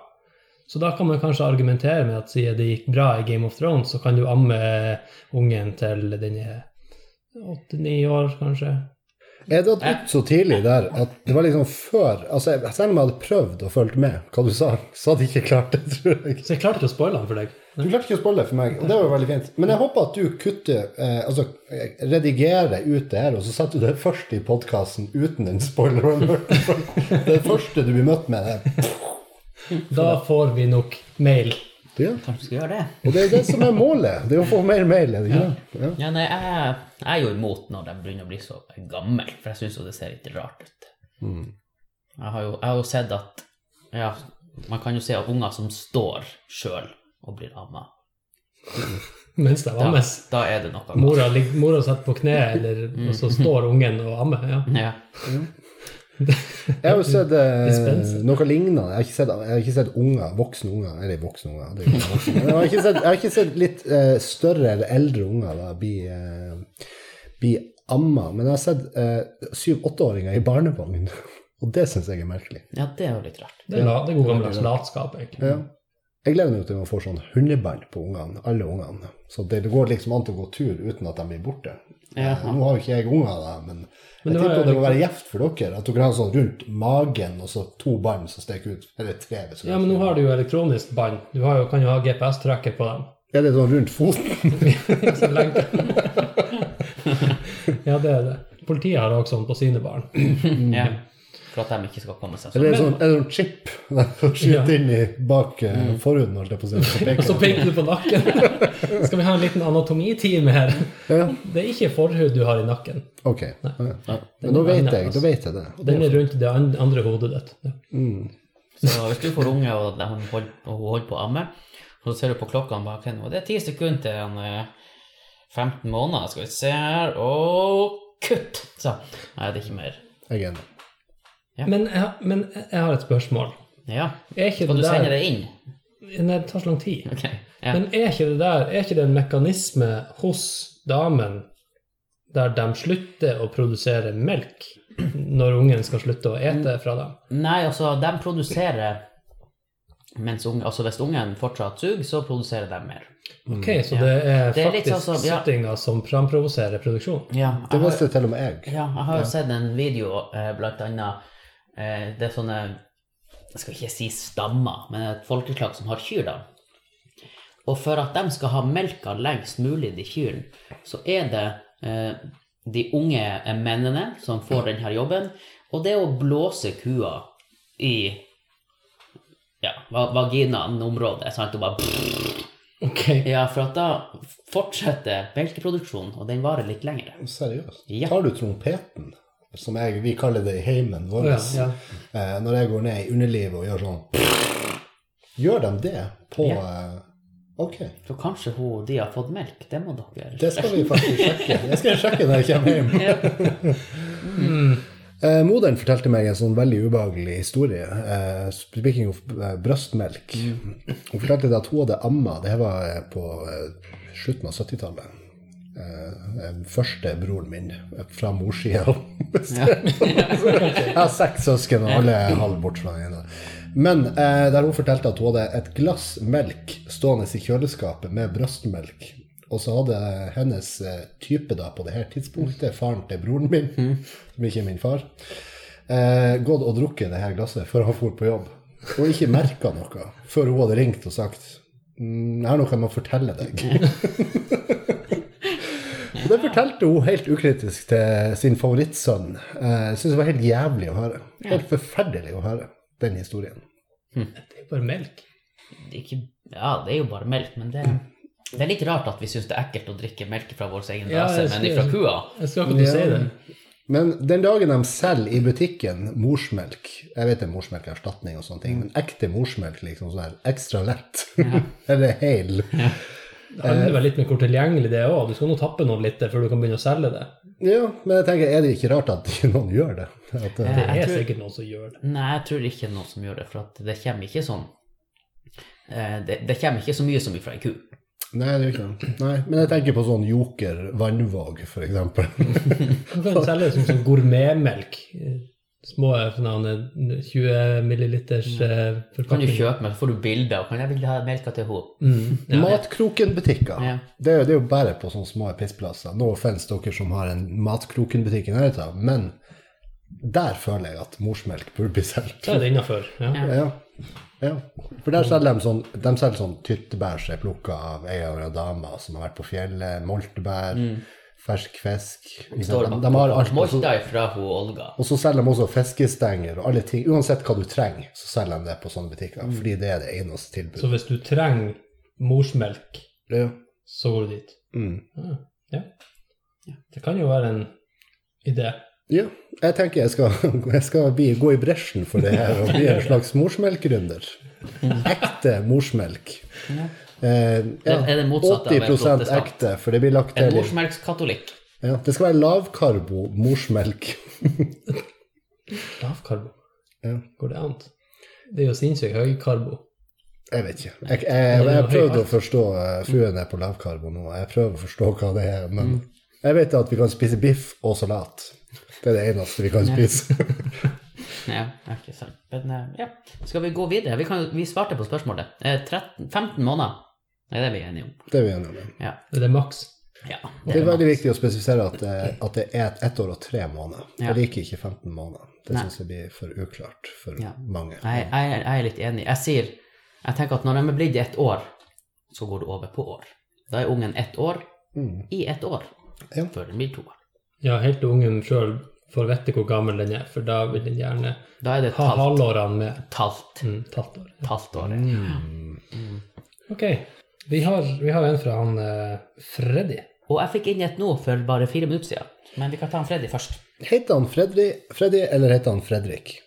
Speaker 2: Så da kan man kanskje argumentere med at siden det gikk bra i Game of Thrones, så kan du amme ungen til den er åtte-ni år, kanskje.
Speaker 3: Jeg datt ut så tidlig der at det var liksom før altså jeg- Selv om jeg hadde prøvd og fulgt med hva du sa, så hadde jeg ikke klart det, tror jeg.
Speaker 2: Så jeg klarte ikke å spoile den for deg.
Speaker 3: Du klarte ikke å spoile for meg, og det var jo veldig fint. Men jeg håper at du kutter, eh, altså eh, redigerer ut det her, og så setter du det først i podkasten uten en spoiler alert. Det første du blir møtt med. er,
Speaker 2: Da får vi nok mail.
Speaker 3: Ja.
Speaker 1: Kanskje vi skal gjøre det?
Speaker 3: Og det er det som er målet. Det er å få mer mail, er det ikke det? Ja.
Speaker 1: Ja, nei, jeg, jeg er jo imot når de begynner å bli så gammel, for jeg syns jo det ser litt rart ut. Jeg, har jo, jeg har jo sett at Ja, man kan jo se at unger som står sjøl og blir amma.
Speaker 2: Mens det
Speaker 1: Da,
Speaker 2: ammes.
Speaker 1: da er det noe galt.
Speaker 2: Mora, ligger- mora sitter på kne, eller, og så står ungen og ammer. Ja.
Speaker 1: Ja.
Speaker 3: Jeg har jo sett eh,
Speaker 2: Dispenser.
Speaker 3: noe lignende. Jeg har ikke sett, jeg har ikke sett unger, voksne unger Eller voksne unger. Det er jo ikke voksne. Men jeg, har ikke sett, jeg har ikke sett litt eh, større eller eldre unger da, bli, eh, bli amma. Men jeg har sett eh, syv-åtteåringer i barnevogn. Og det syns jeg er merkelig.
Speaker 1: ja, det er jo litt rart.
Speaker 2: Det er, la- det er god gammeldags latskap, egentlig.
Speaker 3: Ja. Jeg gleder meg jo til man får sånn hundeband på ungene, alle ungene. Så det, det går liksom an til å gå tur uten at de blir borte.
Speaker 1: Ja.
Speaker 3: Eh, Nå har jo ikke jeg unger, da, men,
Speaker 2: Men det
Speaker 3: jeg
Speaker 2: var
Speaker 3: tipper det
Speaker 2: jo-
Speaker 3: må være gjevt for dere. At dere har sånn rundt magen og så to bånd som stikker ut. Eller tre. hvis
Speaker 2: Ja, men nå har du jo elektronisk bånd. Du har jo, kan jo ha GPS-tracker på dem. (laughs)
Speaker 3: Er det sånn rundt foten?
Speaker 2: Så lenge. Ja, det er det. Politiet har også sånn på sine barn.
Speaker 1: Ja. Mm. For at de ikke skal komme seg
Speaker 3: Eller
Speaker 1: sånn.
Speaker 3: er det sånn, er det sånn chip (laughs) som
Speaker 2: Ja.
Speaker 3: skyter inn i bak eh, forhuden, holdt jeg på å si? så peker
Speaker 2: Og så
Speaker 3: den.
Speaker 2: peker du på nakken. (laughs) Skal vi ha en liten anatomitime her?
Speaker 3: Ja,
Speaker 2: Det er ikke forhud du har i nakken.
Speaker 3: ok. Ja. Men
Speaker 2: Den
Speaker 3: da
Speaker 2: er
Speaker 3: vet
Speaker 2: vanlig,
Speaker 3: jeg,
Speaker 2: altså.
Speaker 3: da vet jeg det. Og det
Speaker 2: Den er rundt det an- andre hodet ditt. Ja.
Speaker 1: Så hvis du får unge, og de holder, og hun holder på å amme, og så ser du på klokka bak henne, og det er ti sekunder til han er 15 måneder, skal vi se her, og kutt! Så, nei, det er ikke mer.
Speaker 3: er jeg enig.
Speaker 2: Men, jeg, har- men jeg har et spørsmål.
Speaker 1: Ja.
Speaker 2: Er ikke
Speaker 1: Skal
Speaker 2: det
Speaker 1: du sende
Speaker 2: der
Speaker 1: det inn?
Speaker 2: Nei, det tar så lang tid.
Speaker 1: Ok. Ja.
Speaker 2: Men er ikke det der Er ikke det en mekanisme hos damen der de slutter å produsere melk når ungen skal slutte å ete fra dem?
Speaker 1: Nei, altså, de produserer mens unge, altså Hvis ungen fortsatt suger, så produserer de mer.
Speaker 2: Ok, så det er
Speaker 1: Det er litt
Speaker 2: faktisk
Speaker 1: sånn som- ja.
Speaker 2: sittinga som framprovoserer produksjon?
Speaker 1: Ja,
Speaker 3: Det
Speaker 1: jeg har,
Speaker 3: visste til og med jeg.
Speaker 1: ja, jeg har jo sett en video, eh, blant annet Eh, Det er sånne Jeg skal ikke si stammer, men et folkeslag som har kyr, da. Og for at de skal ha melka lengst mulig, de kyrne, så er det eh, de unge eh, mennene som får denne jobben, og det er å blåse kua i ja, va- vaginaen-området. sant, og bare
Speaker 2: Ok.
Speaker 1: Ja, for at da fortsetter melkeproduksjonen, og den varer litt lenger.
Speaker 3: Seriøst.
Speaker 1: Ja.
Speaker 3: Tar du trompeten, som jeg, vi kaller det i heimen vår,
Speaker 2: Ja, ja.
Speaker 3: eh, når jeg går ned i underlivet og gjør sånn Gjør de det på eh, Ok.
Speaker 1: Så kanskje hun, de har fått melk. Det må dere
Speaker 3: Det skal vi faktisk sjekke. Jeg skal sjekke når jeg kommer hjem.
Speaker 1: Ja.
Speaker 3: (laughs) Eh, moderen fortalte meg en sånn veldig ubehagelig historie. Eh, speaking of eh, brøstmelk. Hun fortalte det at hun hadde amma. Det her var eh, på eh, slutten av 70-tallet. Eh, eh, første broren min eh, fra morssida. Jeg har seks søsken, og alle er halv bort fra den ene. Men eh, der hun fortalte at hun hadde et glass melk stående i kjøleskapet med brøstmelk. Og så hadde hennes eh, type da på det her tidspunktet, faren til broren min, som ikke er min far, eh, gått og drukket det her glasset før han for på jobb. Og ikke merka noe før hun hadde ringt og sagt «Mm, jeg har noe jeg må fortelle deg. Og det fortalte hun helt ukritisk til sin favorittsønn. Eh, Jeg syns det var helt jævlig å høre. Helt forferdelig å høre den historien.
Speaker 2: Det er bare melk.
Speaker 1: Det er ikke, ja, det er jo bare melk, men det, det er litt rart at vi syns det er ekkelt å drikke melk fra vår egen
Speaker 2: Ja,
Speaker 1: rase,
Speaker 2: jeg
Speaker 1: men
Speaker 2: skulle-
Speaker 1: ifra kua.
Speaker 2: Jeg skal akkurat si det.
Speaker 3: Men den dagen de selger i butikken morsmelk Jeg vet det er morsmelkerstatning og sånne ting, men ekte morsmelk, liksom sånn her ekstra lett (laughs) eller hel
Speaker 2: Det
Speaker 1: Eh,
Speaker 2: handler vel litt med hvor tilgjengelig det er òg. Du skal nå tappe noen liter før du kan begynne å selge det.
Speaker 3: Ja, men jeg tenker, er det ikke rart at ikke noen gjør det? At, eh,
Speaker 2: Det
Speaker 1: Jeg
Speaker 2: er
Speaker 1: tror-
Speaker 2: sikkert noen som gjør det.
Speaker 1: Nei, jeg tror ikke det er noen som gjør det, for at det kommer ikke sånn eh, det, det kommer ikke så mye som ifra ei ku.
Speaker 3: Nei, det er ikke det. Nei, men jeg tenker på sånn Joker Vannvåg, for eksempel.
Speaker 2: Du kan selge det som sånn gourmetmelk. Små eh, sånn sånne 20 milliliters eh,
Speaker 1: Mm. Kan du
Speaker 2: forpakninger.
Speaker 1: kjøpe melk, får du bilder, og kan jeg vil ha melka til henne?
Speaker 2: Mm, ja.
Speaker 3: Matkrokenbutikker.
Speaker 1: Ja.
Speaker 3: Det, er jo- det er jo bare på sånne små pissplasser. No offense dere som har en matkrokenbutikk i nærheten, men der føler jeg at morsmelk burde bli solgt.
Speaker 2: Da er det innafor. Ja.
Speaker 3: Ja. ja. For der selger de sånn, de selger sånn tyttebær som er plukka av ei av dama som har vært på fjellet, moltebær,
Speaker 2: Mm.
Speaker 3: fersk fisk ikke sant? de, de har alt. Og så,
Speaker 1: Molta ifra hun Olga.
Speaker 3: og så selger de også fiskestenger og alle ting. Uansett hva du trenger, så selger de det på sånne butikker. Fordi det er det eneste
Speaker 2: Mm. Så
Speaker 3: tilbudet.
Speaker 2: hvis du trenger morsmelk,
Speaker 3: Ja.
Speaker 2: så går du dit.
Speaker 3: Mm.
Speaker 2: Ah, ja. Det kan jo være en idé.
Speaker 3: Ja, jeg tenker jeg skal, (laughs) jeg skal bli, gå i bresjen for det her og bli en slags morsmelkgründer. Ekte morsmelk. Eh,
Speaker 1: Det
Speaker 3: ja,
Speaker 1: er det motsatte av en
Speaker 3: 80
Speaker 1: protestant.
Speaker 3: ekte, for det blir lagt
Speaker 1: En
Speaker 3: til i-
Speaker 1: morsmelkskatolikk.
Speaker 3: ja, Det skal være lavkarbo morsmelk.
Speaker 2: Lavkarbo.
Speaker 3: Ja.
Speaker 2: Går det an? Det er jo sinnssykt høy karbo.
Speaker 3: Jeg vet ikke. Jeg, jeg, jeg,
Speaker 2: Det er
Speaker 3: jeg
Speaker 2: noe
Speaker 3: prøvde å
Speaker 2: høyt.
Speaker 3: forstå eh, Fruen er på lavkarbo nå, og jeg prøver å forstå hva det er, men jeg vet at vi kan spise biff og salat. Det er det eneste vi kan spise. (laughs)
Speaker 1: Ja, ikke sant. Men eh, ja, skal vi gå videre? Vi, kan, vi svarte på spørsmålet. Eh, 13, 15 måneder, det er det vi er enige om.
Speaker 3: Det er vi enige om.
Speaker 1: Ja.
Speaker 2: Det er det maks.
Speaker 1: ja
Speaker 3: Det er veldig viktig å spesifisere at, eh, at det er ett år og tre måneder.
Speaker 1: Ja.
Speaker 3: Jeg liker ikke 15 måneder. Det
Speaker 1: Nei.
Speaker 3: syns jeg blir for uklart for
Speaker 1: Ja.
Speaker 3: mange.
Speaker 1: Jeg, jeg, jeg er litt enig. Jeg sier, jeg tenker at når de er blitt ett år, så går det over på år. Da er ungen ett år
Speaker 3: Mm.
Speaker 1: i ett år,
Speaker 3: Ja.
Speaker 1: før den blir to år.
Speaker 2: Ja, helt til ungen sjøl får vite hvor gammel den er, for da vil den gjerne
Speaker 1: Da er det et
Speaker 2: ha
Speaker 1: halvt,
Speaker 2: halvårene med.
Speaker 1: halvt,
Speaker 2: Mm, tatt år.
Speaker 1: halvt år.
Speaker 3: Mm.
Speaker 2: Ok, vi har, vi har en fra han eh, Freddy.
Speaker 1: Og jeg fikk inn et nå for bare fire minutter siden. Men vi kan ta en Freddy først.
Speaker 3: Heter han Freddy, Freddy, eller heter han Fredrik?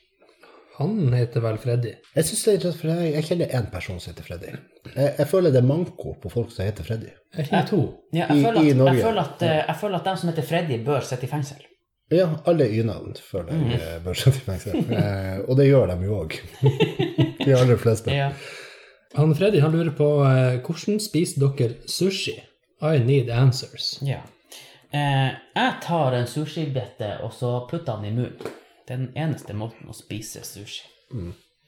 Speaker 2: Han heter vel Freddy.
Speaker 3: Jeg synes det er interessant, for jeg, jeg kjenner én person som heter Freddy. Jeg, jeg føler det er manko på folk som heter Freddy.
Speaker 2: Jeg kjenner to.
Speaker 1: Ja,
Speaker 3: I-
Speaker 1: jeg, føler
Speaker 3: i
Speaker 1: at,
Speaker 3: Norge.
Speaker 1: jeg, føler at, eh, jeg føler at de som heter Freddy, bør sitte i fengsel.
Speaker 3: Ja, alle Y-navn føler
Speaker 1: Mm.
Speaker 3: jeg eh, bør sette i fengsel. Eh, og det gjør de jo òg. (laughs) De aller fleste.
Speaker 1: Ja.
Speaker 2: Han Freddy han lurer på eh, hvordan spiser dere sushi? I need answers.
Speaker 1: Ja. Eh, jeg tar en sushibete og så putter den i munnen. Det er den eneste måten å spise sushi.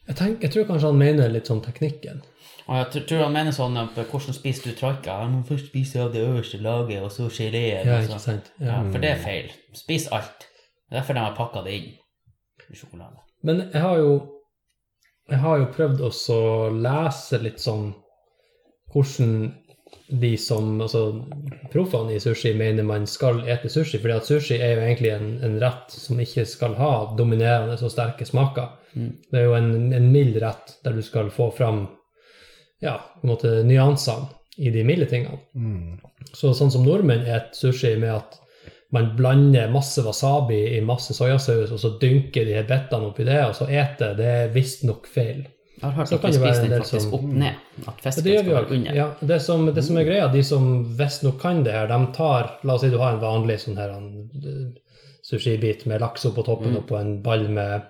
Speaker 2: Jeg, tenker, jeg tror kanskje han mener litt sånn teknikken.
Speaker 1: Og jeg tr- tror han mener sånn at hvordan spiser du troika? Jeg må først spise av det øverste laget, og så geleen.
Speaker 2: Ja,
Speaker 1: og så-
Speaker 2: ikke sant? Mm.
Speaker 1: Ja,
Speaker 2: Ja.
Speaker 1: for det er feil. Spis alt. Det er derfor de har pakka det inn i sjokolade.
Speaker 2: Men jeg har jo, jeg har jo prøvd også å lese litt sånn hvordan de som Altså proffene i sushi mener man skal ete sushi, fordi at sushi er jo egentlig en, en rett som ikke skal ha dominerende og sterke smaker.
Speaker 1: Mm.
Speaker 2: Det er jo en, en mild rett der du skal få fram ja, på en måte nyansene i de milde tingene.
Speaker 3: Mm.
Speaker 2: Så sånn som nordmenn et sushi med at man blander masse wasabi i masse soyasaus, og så dynker de her bitene oppi det, og så eter, det er visstnok feil.
Speaker 1: Jeg har hørt
Speaker 2: Så
Speaker 1: at
Speaker 2: kan
Speaker 1: vi
Speaker 2: det være
Speaker 1: spiser
Speaker 2: en
Speaker 1: den
Speaker 2: del
Speaker 1: faktisk
Speaker 2: som-
Speaker 1: opp ned. At
Speaker 2: Ja,
Speaker 1: fisken
Speaker 2: det gjør
Speaker 1: skal
Speaker 2: vi
Speaker 1: være
Speaker 2: også.
Speaker 1: under. Mm.
Speaker 2: Ja, det, som, det som er greia, de som visstnok kan det her, de tar La oss si du har en vanlig sånn her en, eh, sushibit med laks oppå toppen og på en ball med,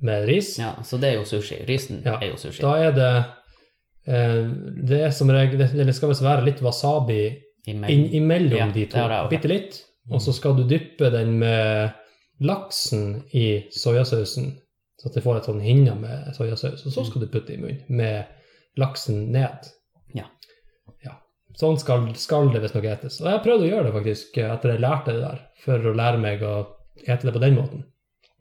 Speaker 2: med ris.
Speaker 1: Mm. Ja, så det er jo sushi. Risen
Speaker 2: Ja,
Speaker 1: er jo sushi.
Speaker 2: Da er det eh, Det er som regel det- Det skal visst være litt wasabi
Speaker 1: Imellom.
Speaker 2: inn, imellom
Speaker 1: Ja,
Speaker 2: de
Speaker 1: det
Speaker 2: to,
Speaker 1: har jeg også. Mm.
Speaker 2: bitte litt, og så skal du dyppe den med laksen i soyasausen, så at det får et sånn hinne med soyasaus, og så
Speaker 1: Mm.
Speaker 2: skal du putte i munnen med laksen ned.
Speaker 1: Ja.
Speaker 2: Ja. Sånn skal, skal det visstnok etes. Og jeg prøvde å gjøre det faktisk etter jeg lærte det der, for å lære meg å ete det på den måten.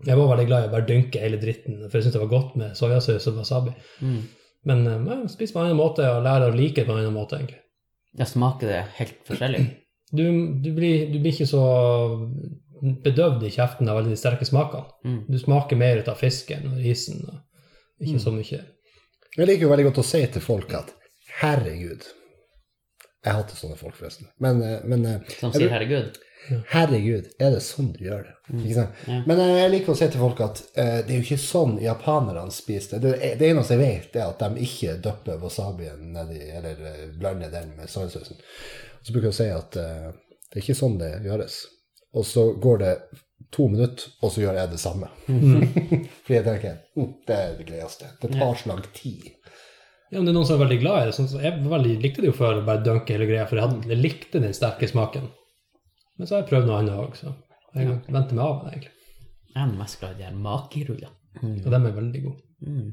Speaker 2: Jeg var veldig glad i å bare dynke hele dritten, for jeg syntes det var godt med soyasaus og wasabi.
Speaker 1: Mm.
Speaker 2: Men eh, jeg spiser på en annen måte og lærer å like det på en annen måte, egentlig.
Speaker 1: Ja, smaker det helt forskjellig?
Speaker 2: (clears throat) du, du, blir, du blir ikke så bedøvd i kjeften av alle de sterke smakene.
Speaker 1: Mm.
Speaker 2: Du smaker mer ut av fisken og risen, og ikke så mye.
Speaker 3: Jeg liker jo veldig godt å si til folk at herregud Jeg hater sånne folk, forresten. Men, eh, men eh,
Speaker 1: Som sier
Speaker 3: jeg bru-
Speaker 1: 'herregud'.
Speaker 3: herregud, er det sånn du gjør det? Ikke sant?
Speaker 1: Ja.
Speaker 3: Men eh, jeg liker å si til folk at eh, det er jo ikke sånn japanerne spiser det. Det, det eneste jeg vet, er at de ikke døpper wasabien nedi, eller eh, blander den med soyasausen. Så bruker jeg å si at eh, det er ikke sånn det gjøres. Og så går det to minutter, og så gjør jeg det samme. (laughs) Fordi jeg tenker mm, det er det greieste. Det tar så lang tid.
Speaker 2: Ja, men det er noen som er veldig glad i det. Sånn, som- jeg var veldig, likte det jo før, å bare dunke hele greia, for jeg, hadde, jeg likte den sterke smaken. Men så har jeg prøvd noe annet òg, så jeg venter meg av det, egentlig.
Speaker 1: Jeg er mest glad i de her makerullene.
Speaker 2: Og de er veldig gode.
Speaker 1: Mm.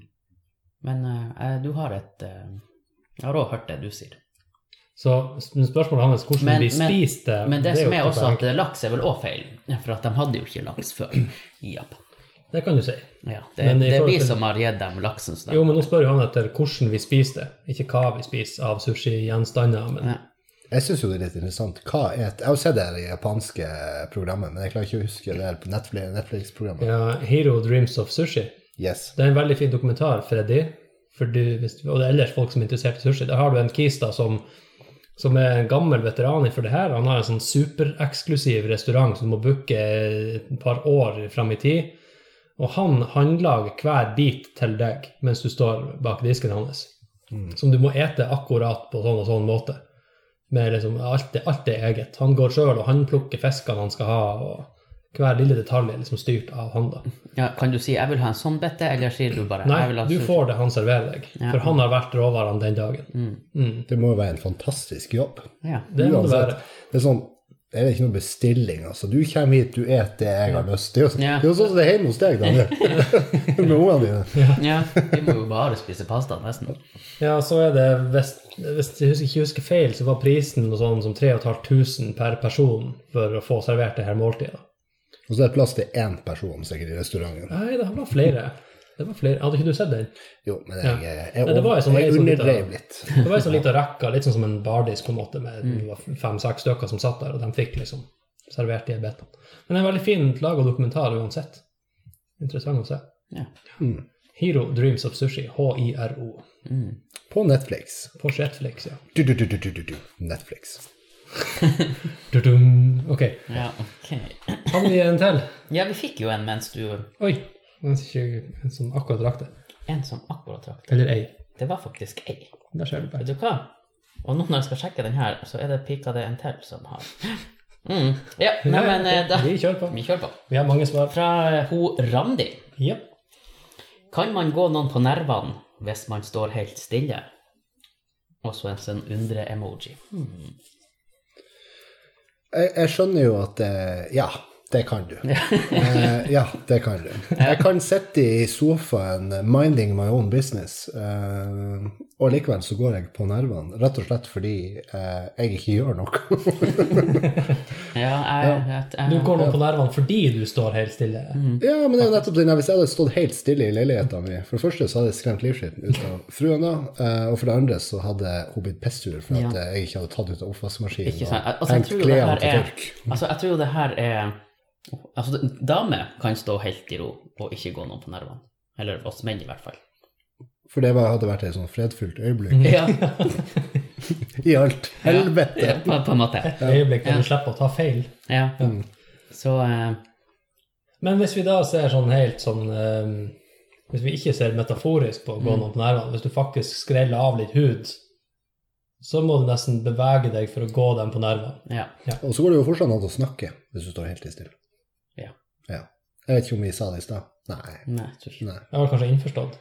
Speaker 1: Men eh, du har et eh, Jeg har òg hørt det du sier.
Speaker 2: Så men spørsmålet hans hvordan
Speaker 1: Men-
Speaker 2: de
Speaker 1: men-
Speaker 2: spiser det
Speaker 1: Men det,
Speaker 2: er jo
Speaker 1: som er
Speaker 2: ikke
Speaker 1: også
Speaker 2: bare
Speaker 1: at eh, laks er vel òg feil, for at de hadde jo ikke laks før i Japan.
Speaker 2: enkelt. Det kan du si.
Speaker 1: Ja, det,
Speaker 2: Men i
Speaker 1: det er vi
Speaker 2: forhold til-
Speaker 1: som har gitt dem laksen. Så
Speaker 2: Jo, men nå spør jo han etter hvordan vi spiser det, ikke hva vi spiser av sushigjenstander. Men
Speaker 1: Ja.
Speaker 3: Jeg syns jo det er litt interessant. Hva er et, jeg har jo sett det her japanske programmet, men jeg klarer ikke å huske det her på Netflix- Netflix-programmet.
Speaker 2: Ja, Uh, 'Hero Dreams of Sushi'.
Speaker 3: Yes.
Speaker 2: Det er en veldig fin dokumentar, Freddy. For du, hvis, og det er ellers folk som er interessert i sushi. Der har du en kis da som, som er en gammel veteran for det her. Han har en sånn supereksklusiv restaurant som du må booke et par år fram i tid. Og han håndlager hver bit til deg mens du står bak disken hans. Som du må ete akkurat på sånn og sånn måte. Med liksom alt, er- alt er eget. Han går sjøl og han plukker fiskene han skal ha. og Hver lille detalj er liksom styrt av han. da.
Speaker 1: Ja, kan du si 'jeg vil ha en sånn bitte', eller sier du bare jeg vil
Speaker 2: Nei,
Speaker 1: ha sånn-
Speaker 2: du
Speaker 1: sushi»?
Speaker 2: får det han serverer deg.
Speaker 1: Ja.
Speaker 2: For han har vært råvarene den dagen. Mm.
Speaker 3: Det må jo være en fantastisk jobb.
Speaker 1: Ja.
Speaker 2: Det må det
Speaker 3: Uansett.
Speaker 2: være.
Speaker 3: Det er sånn det er ikke noe bestilling, altså. Du kommer hit, du et det jeg har lyst til. Det er jo sånn-
Speaker 1: Ja.
Speaker 3: Det er jo sånn som det er hjemme hos deg, Daniel. (laughs) Med ungene dine.
Speaker 1: ja, vi må jo bare spise pasta, nesten.
Speaker 2: Ja, så er det, hvis, hvis jeg husker, ikke husker feil, så var prisen noe sånn som 3500 per person for å få servert det her måltidet.
Speaker 3: Og så er det plass til én person sikkert i restauranten.
Speaker 2: Nei, det var flere. Det var flere. Hadde ikke du sett den?
Speaker 3: Jo, men jeg, jeg, jeg,
Speaker 2: Nei, det var jo sånn-
Speaker 3: jeg
Speaker 2: sånn litt av-
Speaker 3: underdrev litt.
Speaker 2: Det var en sånn liten rekke, litt sånn som en bardisk på en måte, med
Speaker 1: Mm.
Speaker 2: det var fem-seks stykker som satt der, og de fikk liksom servert de bitene. Men det er en veldig fin laga dokumentar uansett. Interessant å se.
Speaker 1: Ja.
Speaker 2: Hero Dreams of Sushi, H-I-R-O.
Speaker 3: På Netflix.
Speaker 2: På Netflix, ja.
Speaker 3: Du, du, du, du, du, du, du. Netflix.
Speaker 2: Tudum. Ok.
Speaker 1: ja, ok.
Speaker 2: Hadde vi en til?
Speaker 1: Ja, vi fikk jo en mens du
Speaker 2: Oi. Den er ikke en som akkurat rakk det.
Speaker 1: En som akkurat trakk.
Speaker 2: Eller ei.
Speaker 1: Det var faktisk ei.
Speaker 2: Der ser du
Speaker 1: Vet
Speaker 2: bare.
Speaker 1: du hva? Og nå når jeg skal sjekke den her, så er det pika det en til som har. Mm. Ja, nei, men eh, da
Speaker 2: Vi kjører på.
Speaker 1: Vi kjører på.
Speaker 2: Vi har mange svar.
Speaker 1: Fra eh, ho Randi.
Speaker 2: Ja.
Speaker 1: Kan man gå noen på nervene hvis man står helt stille? Også en sånn undre-emoji.
Speaker 3: Jeg, jeg skjønner jo at eh, Ja. Det kan
Speaker 1: (laughs)
Speaker 3: du. Eh, ja, det kan du. Jeg kan sitte i sofaen eh, minding my own business, eh, og likevel så går jeg på nervene, rett og slett fordi eh, jeg ikke gjør noe. (laughs)
Speaker 1: Ja, jeg, jeg, jeg,
Speaker 2: Du går nå på nervene fordi du står helt stille.
Speaker 3: ja, men det er jo nettopp den her. Hvis jeg hadde stått helt stille i leiligheten min, for det første så hadde jeg skremt livskiten ut av fruen da, eh, og for det andre så hadde hun blitt pestsur for at eh, jeg ikke hadde tatt ut av oppvaskmaskinen
Speaker 1: Ikke sant?
Speaker 3: og
Speaker 1: Altså, jeg
Speaker 3: hengt
Speaker 1: tror jo det
Speaker 3: klærne
Speaker 1: her
Speaker 3: til
Speaker 1: er
Speaker 3: tørk.
Speaker 1: Altså, jeg tror jo det her er Altså, det- damer kan stå helt i ro og ikke gå noen på nervene. Eller oss menn, i hvert fall.
Speaker 3: For det var- hadde vært et sånn fredfullt øyeblikk
Speaker 1: Ja,
Speaker 3: i alt helvete.
Speaker 1: ja på, på en måte.
Speaker 2: Et øyeblikk der du slipper å ta feil.
Speaker 1: Ja. Så eh,
Speaker 2: Men hvis vi da ser sånn helt sånn eh, Hvis vi ikke ser metaforisk på å gå noen på nervene, hvis du faktisk skreller av litt hud, så må du nesten bevege deg for å gå dem på nervene.
Speaker 1: ja.
Speaker 3: Og så går det jo fortsatt an å snakke hvis du står helt stille.
Speaker 1: Ja.
Speaker 3: ja. Jeg vet ikke om vi sa det i stad. Nei.
Speaker 1: Nei, jeg tror ikke
Speaker 3: Nei.
Speaker 2: Jeg var kanskje innforstått.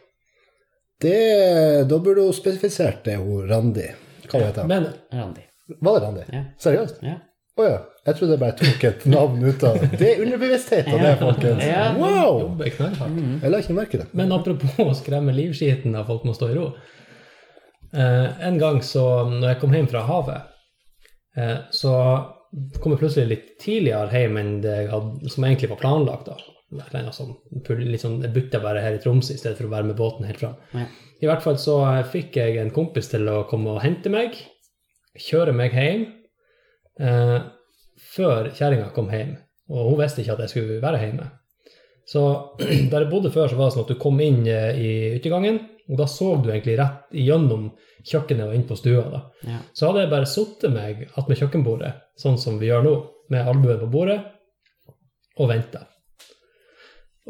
Speaker 3: Det, da burde hun spesifisert det, hun Randi. Hva heter hun?
Speaker 2: Men
Speaker 1: Randi.
Speaker 3: Var det Randi?
Speaker 1: Ja.
Speaker 3: Seriøst?
Speaker 1: Ja.
Speaker 3: Å ja. Jeg trodde jeg bare tok et navn ut av Det er underbevisstheten, det, folkens.
Speaker 1: (laughs) Ja.
Speaker 3: Wow!
Speaker 2: jobber knallhardt.
Speaker 3: Jeg la ikke merke det.
Speaker 2: Men apropos å skremme livskiten av folk må stå i ro. Eh, en gang så, når jeg kom hjem fra havet, eh, så kom jeg plutselig litt tidligere hjem enn det jeg hadde, som egentlig var planlagt. da. Et eller annet sånn, pull- litt sånn, jeg bytta bare her i Tromsø i stedet for å være med båten helt fram.
Speaker 1: Ja.
Speaker 2: I hvert fall så eh, fikk jeg en kompis til å komme og hente meg, kjøre meg hjem, eh, før kjerringa kom hjem. Og hun visste ikke at jeg skulle være hjemme. Så (clears throat) der jeg bodde før, så var det sånn at du kom inn eh, i utegangen, og da så du egentlig rett igjennom kjøkkenet og inn på stua. da.
Speaker 1: Ja.
Speaker 2: Så hadde jeg bare sittet meg attmed kjøkkenbordet, sånn som vi gjør nå, med albuen på bordet, og venta.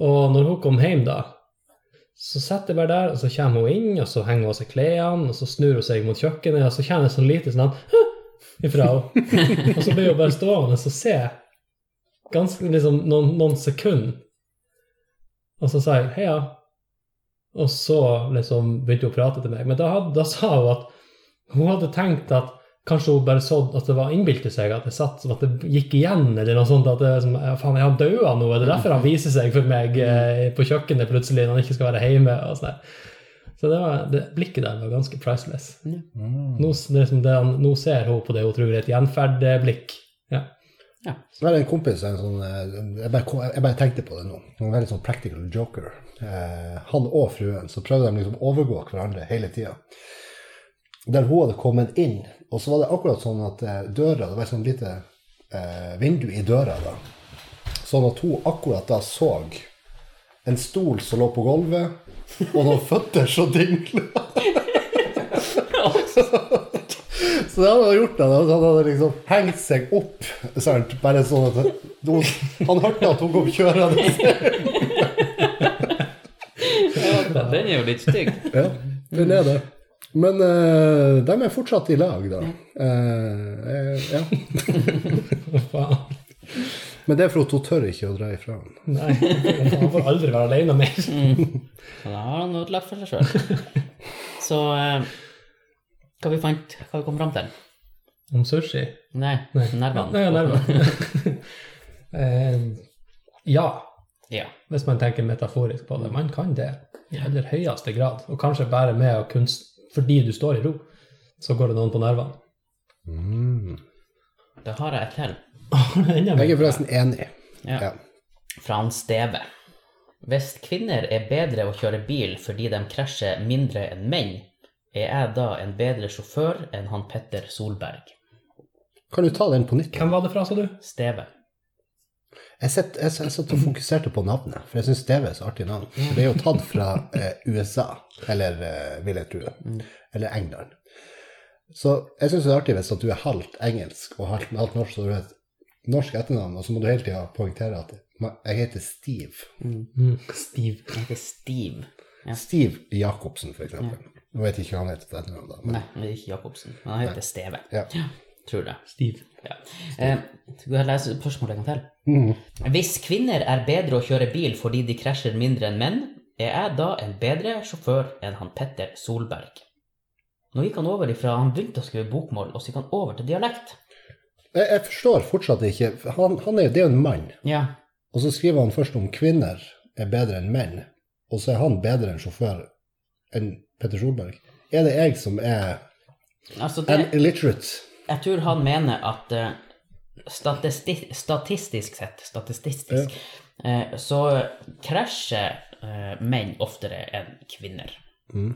Speaker 2: Og når hun kom hjem, da, så setter jeg bare der, og så kommer hun inn, og så henger hun av seg klærne, og så snur hun seg mot kjøkkenet, og så kommer det sånn lite sånn «Hæ?» ifra henne. Og så blir hun bare stående og se ganske, liksom, noen, noen sekunder. Og så sa jeg heia. Og så liksom begynte hun å prate til meg. Men da, had- da sa hun at hun hadde tenkt at kanskje hun bare så at det var innbilte seg, at det, satt, at det gikk igjen, eller noe sånt. At det er som, ja, faen, er han daua nå? Er det derfor han viser seg for meg eh, på kjøkkenet plutselig når han ikke skal være hjemme? og sånn der. Så det, var, det blikket der var ganske priceless.
Speaker 3: Mm.
Speaker 2: Nå, s- det er som det, han- nå ser hun på det hun tror er et gjenferd-blikk. Ja.
Speaker 3: Så var det en kompis, en sånn, eh, jeg, bare, kom- jeg bare tenkte på det nå, en veldig sånn practical joker. Eh, han og fruen, så prøvde de liksom å overgå hverandre hele tida. Der hun hadde kommet inn, og så var det akkurat sånn at eh, døra, det var et sånn lite eh, vindu i døra da, sånn at hun akkurat da så en stol som lå på gulvet, og noen (laughs) føtter som dingla. Så det han hadde gjort, da, det var at han hadde liksom hengt seg opp, sant? bare sånn at hun, han hørte at hun kom kjørende.
Speaker 1: Den er jo litt stygg.
Speaker 3: Ja, den er det. Men eh, de er fortsatt i lag, da. Eh, eh, ja.
Speaker 2: Faen. (laughs)
Speaker 3: Men det er for at hun tør ikke å dra ifra han.
Speaker 2: Nei, han får aldri være alene mer.
Speaker 1: Så da har han ødelagt for seg sjøl. Så eh, hva vi fant Hva vi kom fram til?
Speaker 2: Om sushi?
Speaker 1: Nei,
Speaker 2: Nei,
Speaker 1: nervene.
Speaker 2: nervene. (laughs) eh, ja.
Speaker 1: Ja.
Speaker 2: hvis man tenker metaforisk på
Speaker 3: Mm.
Speaker 2: det. Man kan det i aller høyeste grad, og kanskje bare med å kunst, fordi du står i ro, så går det noen på
Speaker 3: (laughs)
Speaker 2: nervene.
Speaker 1: Da har jeg et til.
Speaker 2: Enda mer.
Speaker 3: Jeg er forresten enig.
Speaker 1: Ja.
Speaker 3: Ja.
Speaker 1: fra han Steve. Hvis kvinner er bedre å kjøre bil fordi de krasjer mindre enn menn, er jeg da en bedre sjåfør enn han Petter Solberg?
Speaker 3: Kan du ta den på nytt?
Speaker 2: Hvem var det fra, sa du?
Speaker 1: Steve.
Speaker 3: Jeg satt, jeg, satt- jeg satt og fokuserte på navnet, for jeg syns det er et så artig navn. For det er jo tatt fra eh, USA, eller eh, vil jeg tro, eller England. Så jeg syns det er artig hvis at du er halvt engelsk og halvt, halvt norsk, så du har et norsk etternavn, og så må du hele tida poengtere at "Ma- jeg heter Steve.
Speaker 2: Steve.
Speaker 1: Han heter Steve. Ja.
Speaker 3: Steve Jacobsen, for eksempel. Nå vet jeg ikke hva han heter til etternavn, da. Men
Speaker 1: Nei, det er ikke Jacobsen. Men han heter Steve.
Speaker 3: Ja.
Speaker 1: Tror det.
Speaker 2: Steve.
Speaker 1: Ja. Eh, skal jeg lese spørsmålet en gang til?
Speaker 3: Mm.
Speaker 1: Hvis kvinner er bedre å kjøre bil fordi de krasjer mindre enn menn, er jeg da en bedre sjåfør enn han Petter Solberg? Nå gikk han over ifra han begynte å skrive bokmål, og så gikk han over til dialekt.
Speaker 3: Jeg, jeg forstår fortsatt ikke han, han er, Det er jo en mann.
Speaker 1: Ja.
Speaker 3: Og så skriver han først om kvinner er bedre enn menn, og så er han bedre enn sjåfør enn Petter Solberg. Er det jeg som er
Speaker 1: Altså,
Speaker 3: an
Speaker 1: det,
Speaker 3: illiterate?
Speaker 1: jeg tror han mener at eh, statisti- statistisk sett, statistisk, eh, så krasjer eh, menn oftere enn kvinner.
Speaker 3: Mm.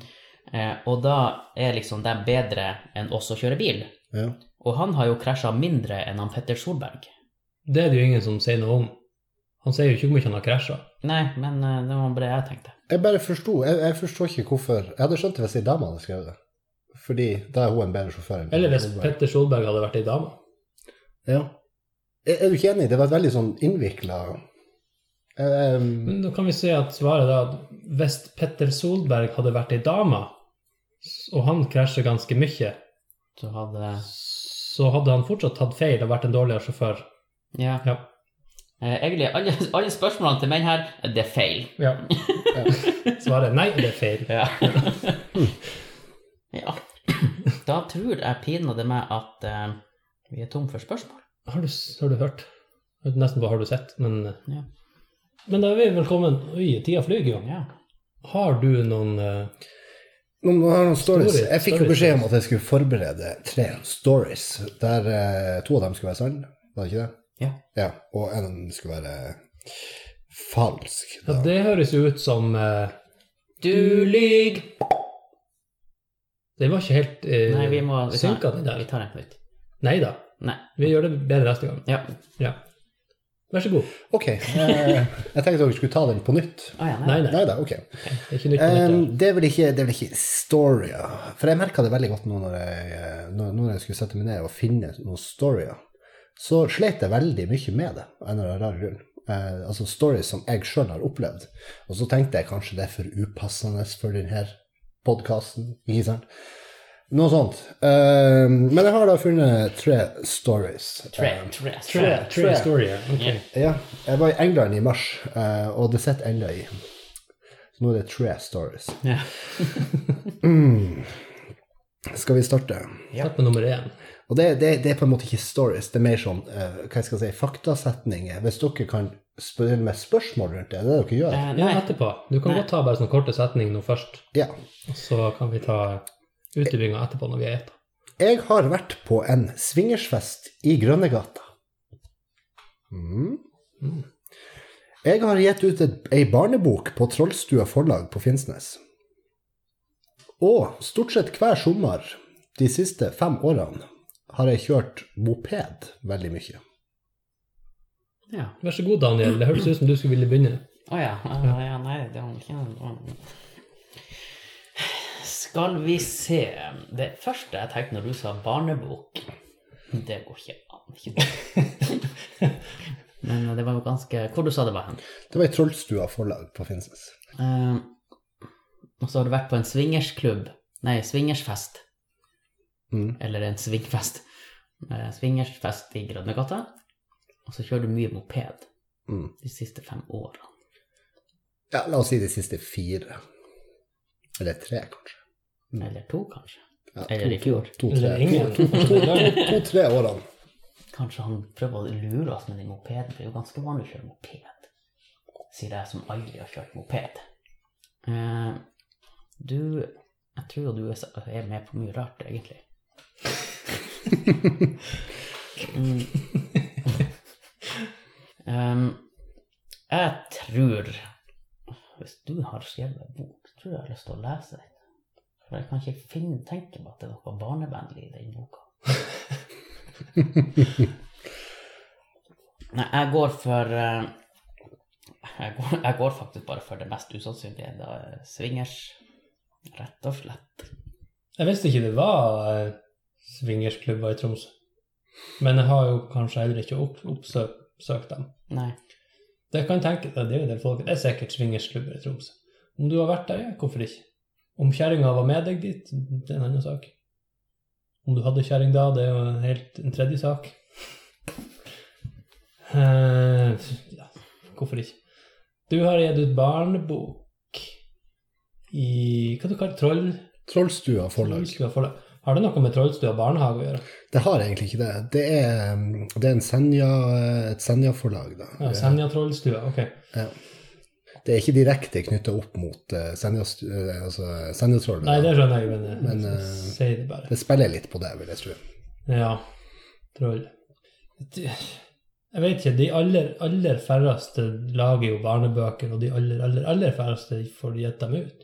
Speaker 1: Eh, og da er liksom de bedre enn oss å kjøre bil.
Speaker 3: Ja.
Speaker 1: Og han har jo krasja mindre enn han Petter Solberg.
Speaker 2: Det er det jo ingen som sier noe om. Han sier jo ikke hvor mye han har krasja.
Speaker 1: Nei, men eh, det var bare det jeg tenkte.
Speaker 3: Jeg bare forsto jeg, jeg forstår ikke hvorfor Jeg hadde skjønt det hvis ei dame hadde skrevet det. Fordi da er hun en bedre sjåfør enn
Speaker 2: Eller hvis
Speaker 3: Solberg.
Speaker 2: Petter Solberg hadde vært ei dame.
Speaker 3: Ja. Er, er du ikke enig? Det var et veldig sånn innvikla
Speaker 2: Men da kan vi si at svaret er at hvis Petter Solberg hadde vært ei dame, s- og han krasjer ganske mye,
Speaker 1: Så hadde
Speaker 2: så hadde han fortsatt tatt feil og vært en dårligere sjåfør.
Speaker 1: Ja.
Speaker 2: Ja.
Speaker 1: Eh, egentlig, alle, alle spørsmålene til menn her, eh, det er feil.
Speaker 3: (laughs)
Speaker 2: ja. Svaret er nei, det er feil.
Speaker 1: Ja. ja. Da tror jeg pinadø meg at eh, vi er tom for spørsmål.
Speaker 2: Har du, har du hørt? Jeg vet Nesten på har du sett, men eh,
Speaker 1: Ja.
Speaker 2: Men da er vi velkommen Oi, tida flyr jo.
Speaker 1: Ja.
Speaker 2: Har du noen eh,
Speaker 3: Nå nå har jeg noen stories.
Speaker 2: Stories,
Speaker 3: Jeg fikk jo
Speaker 2: stories.
Speaker 3: beskjed om at jeg skulle forberede tre stories, der eh, to av dem skulle være sanne, var det ikke det?
Speaker 1: Ja.
Speaker 3: Og en skulle være falsk.
Speaker 2: Ja,
Speaker 3: Da.
Speaker 2: det høres jo ut som eh,
Speaker 1: Du lyg!
Speaker 2: Den var ikke helt uh,
Speaker 1: Nei, vi må vi tar,
Speaker 2: synka, den
Speaker 1: Vi
Speaker 2: der.
Speaker 1: tar en på nytt.
Speaker 2: Nei da.
Speaker 1: Nei.
Speaker 2: Vi gjør det bedre neste gang.
Speaker 1: Ja.
Speaker 2: Ja. Vær så god.
Speaker 3: Ok. eh, jeg tenkte dere skulle ta den på nytt.
Speaker 1: Å, ja,
Speaker 2: Nei, nei.
Speaker 3: Nei da, ok.
Speaker 2: Det er ikke nytt på
Speaker 3: Um,
Speaker 2: dette.
Speaker 3: det, er vel ikke, det er vel ikke storyer. For jeg merka det veldig godt nå når jeg, eh, når, når jeg skulle sette meg ned og finne noen storyer. Så slet jeg veldig mye med det. av en eller annen rar grunn. Eh, altså stories som jeg sjøl har opplevd. Og så tenkte jeg kanskje det er for upassende for denne podkasten. Ikke sant? Noe sånt. Eh, men jeg har da funnet tre stories.
Speaker 1: Tre,
Speaker 3: Eh,
Speaker 1: tre, tre.
Speaker 2: Tre, tre
Speaker 3: tre.
Speaker 2: historier. Ok.
Speaker 3: ja, jeg var i England i mars, eh, og det sitter enda i. Så nå er det tre stories.
Speaker 1: Ja.
Speaker 3: Skal vi starte?
Speaker 2: Start med nummer én.
Speaker 3: Og det, det, det er på en måte ikke stories, det er mer sånn eh, hva jeg skal si, faktasetninger. Hvis dere kan spørre med spørsmål rundt det, det er det dere
Speaker 1: Eh,
Speaker 3: gjør.
Speaker 2: Ja,
Speaker 1: nei.
Speaker 2: etterpå. Du kan
Speaker 1: Nei.
Speaker 2: godt ta bare sånne korte setninger nå først,
Speaker 3: Ja.
Speaker 2: og så kan vi ta utdypinga etterpå når vi har gjetta.
Speaker 3: Jeg har vært på en swingersfest i Grønnegata. Mm.
Speaker 2: Mm.
Speaker 3: Jeg har gitt ut et, ei barnebok på Trollstua forlag på Finnsnes. Og stort sett hver sommer de siste fem årene har jeg kjørt moped veldig mye.
Speaker 1: Ja.
Speaker 2: Vær så god, Daniel. Det hørtes ut som du skulle ville begynne.
Speaker 1: Å ja. ja. ja. Nei, det var ikke noe Skal vi se Det første jeg tenkte når du sa barnebok Det går ikke an. ikke sant? (laughs) Men eh, det var jo ganske Hvor du sa det var hen?
Speaker 3: Det var ei Trollstua forlag på Finnsnes.
Speaker 1: Eh, og så har du vært på en swingersklubb Nei, swingersfest.
Speaker 3: Mm.
Speaker 1: Eller en svingfest. Eh, swingersfest i Grønnegata. Og så kjører du mye moped
Speaker 3: Mm.
Speaker 1: de siste fem årene.
Speaker 3: Ja, la oss si de siste fire. Eller tre, kanskje. Mm.
Speaker 1: Eller to, kanskje.
Speaker 3: Ja,
Speaker 1: Eller i fjor.
Speaker 2: Eller
Speaker 3: To-tre
Speaker 2: ingen. Eller-
Speaker 3: to, tre årene.
Speaker 1: Kanskje han prøver å lure oss med den mopeden, for det er jo ganske vanlig å kjøre moped. Sier jeg som aldri har kjørt moped. Eh, du Jeg tror jo du er så- er med på mye rart, egentlig. mm. (laughs) um, jeg tror Hvis du har skrevet en bok, tror jeg jeg har lyst til å lese den. For jeg kan ikke finne, tenke meg at det er noe barnevennlig i den boka. Nei, jeg går for eh, jeg går, jeg går faktisk bare for det mest usannsynlige. Da eh, swingers, rett og slett.
Speaker 2: Jeg visste ikke det var eh, swingersklubber i Tromsø. Men jeg har jo kanskje heller ikke opp, oppsøkt dem.
Speaker 1: Nei.
Speaker 2: Det kan jeg tenke meg, det er jo en del folk Det er sikkert swingersklubber i Tromsø. Om du har vært der, ja, hvorfor ikke? Om kjerringa var med deg dit, det er en annen sak. Om du hadde kjerring da, det er jo en helt en tredje sak. Eh, ja, hvorfor ikke? Du har gitt ut barnebok i Hva du kaller du Troll?
Speaker 3: Trollstua forlag.
Speaker 2: Mm. Trollstua forlag. Har det noe med Trollstø og barnehage å gjøre?
Speaker 3: Det har egentlig ikke det. Det er, um, det er en Senja, et Senja-forlag, da.
Speaker 2: Ja, Senja-Trollstua, ok.
Speaker 3: Det er ikke direkte knytta opp mot uh, Senja, uh, altså Senjatrollet.
Speaker 2: Nei, det skjønner jeg, men,
Speaker 3: Men,
Speaker 2: men
Speaker 3: eh,
Speaker 2: si det bare.
Speaker 3: Det spiller litt på det, vil jeg tro.
Speaker 2: Ja, troll. Det- Jeg vet ikke, de aller, aller færreste lager jo barnebøker, og de aller, aller, aller færreste får gitt dem ut.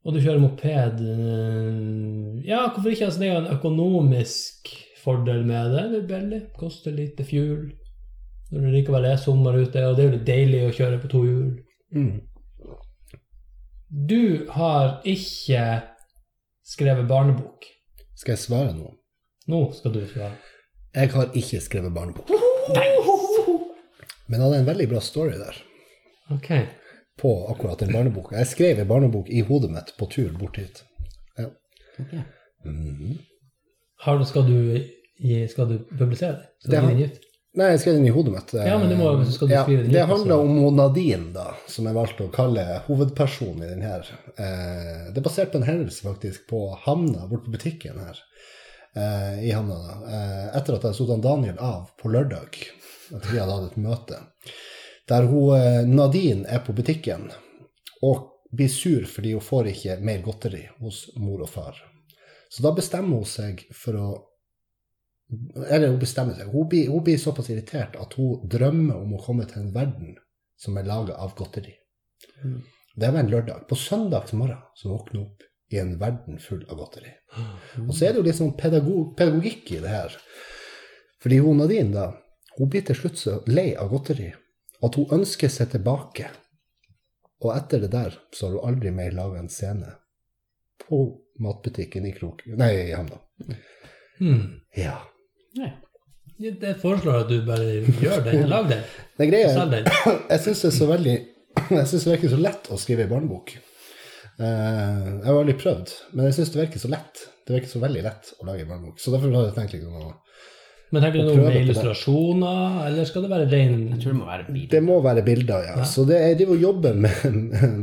Speaker 2: Og du kjører moped eh, Ja, hvorfor ikke? Altså, det er jo en økonomisk fordel med det. Det er billig, koster lite fuel. Når det likevel er sommer ute, og det er jo litt deilig å kjøre på to hjul.
Speaker 3: Mm.
Speaker 2: Du har ikke skrevet barnebok.
Speaker 3: Skal jeg svare nå?
Speaker 2: Nå skal du svare.
Speaker 3: Jeg har ikke skrevet barnebok. Men jeg hadde en veldig bra story der
Speaker 2: Ok.
Speaker 3: på akkurat den barneboka. Jeg skrev en barnebok i hodet mitt på tur bort hit.
Speaker 1: Ok.
Speaker 3: Mhm.
Speaker 2: Har du, skal, du, gi- skal du publisere det? Skal
Speaker 3: Det
Speaker 2: du gi
Speaker 3: har-
Speaker 2: den ut?
Speaker 3: Nei, jeg skrev den i hodet mitt.
Speaker 2: Ja, men det må- så skal du skrive den
Speaker 3: Det
Speaker 2: ut,
Speaker 3: handler
Speaker 2: altså.
Speaker 3: om hun Nadine, da, som jeg valgte å kalle hovedpersonen i den her. Eh, Det er basert på en hendelse, faktisk, på havna, borte på butikken her. eh, I havna, da. Eh, Etter at jeg satte han Daniel av på lørdag, etter vi hadde hatt et møte, der hun, eh, Nadine er på butikken og blir sur fordi hun får ikke mer godteri hos mor og far. Så da bestemmer hun seg for å eller hun bestemmer seg. Hun blir, hun blir såpass irritert at hun drømmer om å komme til en verden som er laga av godteri.
Speaker 1: Mm.
Speaker 3: Det var en lørdag. På søndags morgen så våkner hun opp i en verden full av godteri. Og så er det jo litt sånn pedagog, pedagogikk i det her. Fordi hun Nadine, da, hun blir til slutt så lei av godteri at hun ønsker seg tilbake. Og etter det der så har hun aldri mer laga en scene på matbutikken i Krok... Nei, i Hamna.
Speaker 2: Hmm.
Speaker 3: Ja.
Speaker 1: Nei.
Speaker 2: Jeg jeg foreslår at du bare gjør
Speaker 3: (laughs)
Speaker 2: den. Lag den.
Speaker 3: Det er greia.
Speaker 2: Selg den.
Speaker 3: Jeg syns det er så veldig Jeg synes det virker så lett å skrive ei barnebok. Eh, jeg har aldri prøvd, men jeg syns det virker så lett. Det virker så veldig lett å lage ei barnebok. Så derfor har jeg tenkt liksom å
Speaker 2: Men tenker du
Speaker 3: Og
Speaker 2: noe
Speaker 3: prøve
Speaker 2: med
Speaker 3: på det.
Speaker 2: illustrasjoner, eller skal det være ren
Speaker 1: Jeg tror det må være bil.
Speaker 3: Det må være bilder, ja. Så det, jeg driver og jobber med,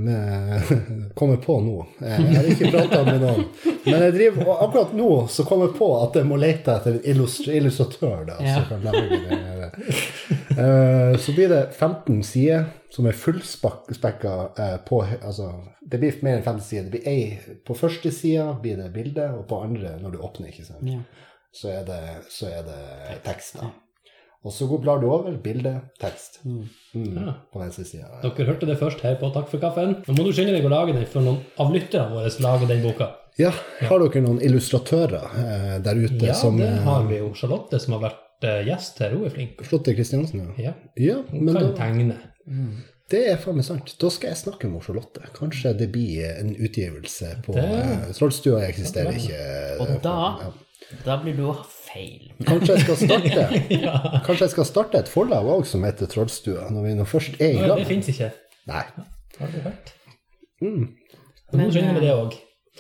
Speaker 3: med Kommer på nå. Eh, Jeg har ikke prata med noen. Men jeg driver, og akkurat nå så kom jeg på at jeg må lete etter en illustr- illustratør. Da,
Speaker 1: Ja.
Speaker 3: som kan lage det her. Eh, så blir det 15 sider som er fullspekka eh, på altså, Det blir mer enn 15 sider. Det blir ei på første sida, blir det bilde, og på andre, når du åpner, ikke sant
Speaker 1: Ja.
Speaker 3: så er det, så er det tekst. da. Og så går blar du over bilde, tekst.
Speaker 1: Mm.
Speaker 3: Mm,
Speaker 2: Ja.
Speaker 3: På venstre side.
Speaker 2: Dere hørte det først her på Takk for kaffen. Nå må du skynde deg å lage den før noen av lytterne våre lager den boka.
Speaker 3: Ja, har dere noen illustratører eh, der ute
Speaker 2: Ja,
Speaker 3: som
Speaker 2: det
Speaker 3: eh,
Speaker 2: har vi jo. Charlotte som har vært eh, gjest her, hun er flink.
Speaker 3: Flotte Kristiansen, ja.
Speaker 2: Ja,
Speaker 3: Ja,
Speaker 2: hun
Speaker 3: men
Speaker 2: kan
Speaker 3: da,
Speaker 2: tegne.
Speaker 3: det er faen meg sant. Da skal jeg snakke med Charlotte. Kanskje det blir en utgivelse på
Speaker 2: Det-
Speaker 3: eh, Trollstua eksisterer ikke. eh,
Speaker 1: Og da-
Speaker 3: ja.
Speaker 1: Da blir du feil.
Speaker 3: Kanskje jeg skal starte
Speaker 2: (laughs) Ja,
Speaker 3: Kanskje jeg skal starte et forlag òg som heter Trollstua, når vi nå først er i
Speaker 2: det
Speaker 3: gang.
Speaker 2: fins ikke.
Speaker 3: Nei.
Speaker 2: Har du hørt?
Speaker 3: Mm.
Speaker 2: Du må
Speaker 1: Men,
Speaker 2: skynde med
Speaker 1: eh,
Speaker 2: det òg.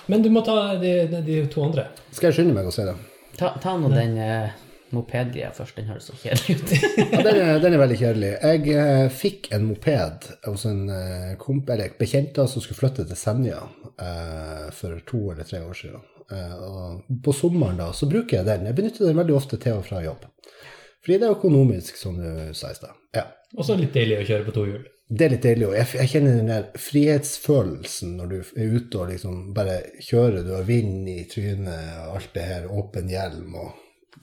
Speaker 2: Men du må ta de, de, de to andre.
Speaker 3: Skal jeg skynde meg å se det?
Speaker 1: Ta, ta nå den eh, mopedgreia først. Den høres så kjedelig ut. (laughs)
Speaker 3: Ja, den er, den er veldig kjedelig. Jeg eh, fikk en moped hos en eh, komp, eller bekjente som skulle flytte til Senja eh, for to eller tre år siden. Eh, og på sommeren da, så bruker jeg den. Jeg benytter den veldig ofte til og fra jobb. Fordi det er økonomisk, som du sa i stad. Ja.
Speaker 2: Og så litt deilig å kjøre på to hjul.
Speaker 3: Det er litt deilig. Og jeg, jeg kjenner den der frihetsfølelsen når du er ute og liksom bare kjører. Du har vind i trynet og alt det her, åpen hjelm og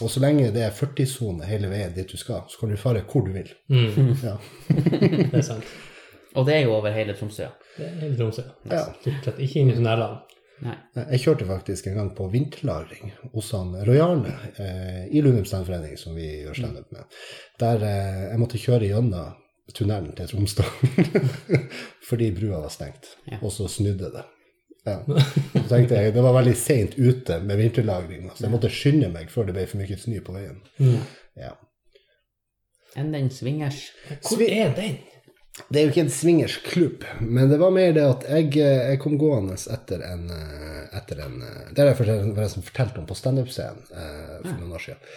Speaker 3: Og så lenge det er 40-sone hele veien dit du skal, så kan du fare hvor du vil.
Speaker 2: Mm.
Speaker 3: Ja.
Speaker 2: Det er sant.
Speaker 1: Og det er jo over hele Tromsø.
Speaker 2: Det er i Tromsø.
Speaker 3: Ja.
Speaker 2: Stort sett ikke inne i tunnelene.
Speaker 1: Nei.
Speaker 3: Eh, Jeg kjørte faktisk en gang på vinterlagring hos han Rojarne eh, i Lundum Standforening, som vi gjør standup med, der eh, jeg måtte kjøre gjennom tunnelen til Tromsdalen (laughs) fordi brua var stengt,
Speaker 1: Ja.
Speaker 3: og så snudde det. Ja. Så tenkte jeg, Det var veldig seint ute med vinterlagring, så jeg måtte skynde meg før det ble for mye snø på veien. Ja.
Speaker 1: Enn den swingers.
Speaker 2: Hvor
Speaker 3: Svi-
Speaker 2: er den?
Speaker 3: Det er jo ikke en swingersklubb, men det var mer det at jeg, eh, jeg kom gående etter en, eh, etter en eh, Det har jeg forresten forresten fortalt om på standup-scenen eh, for noen år siden.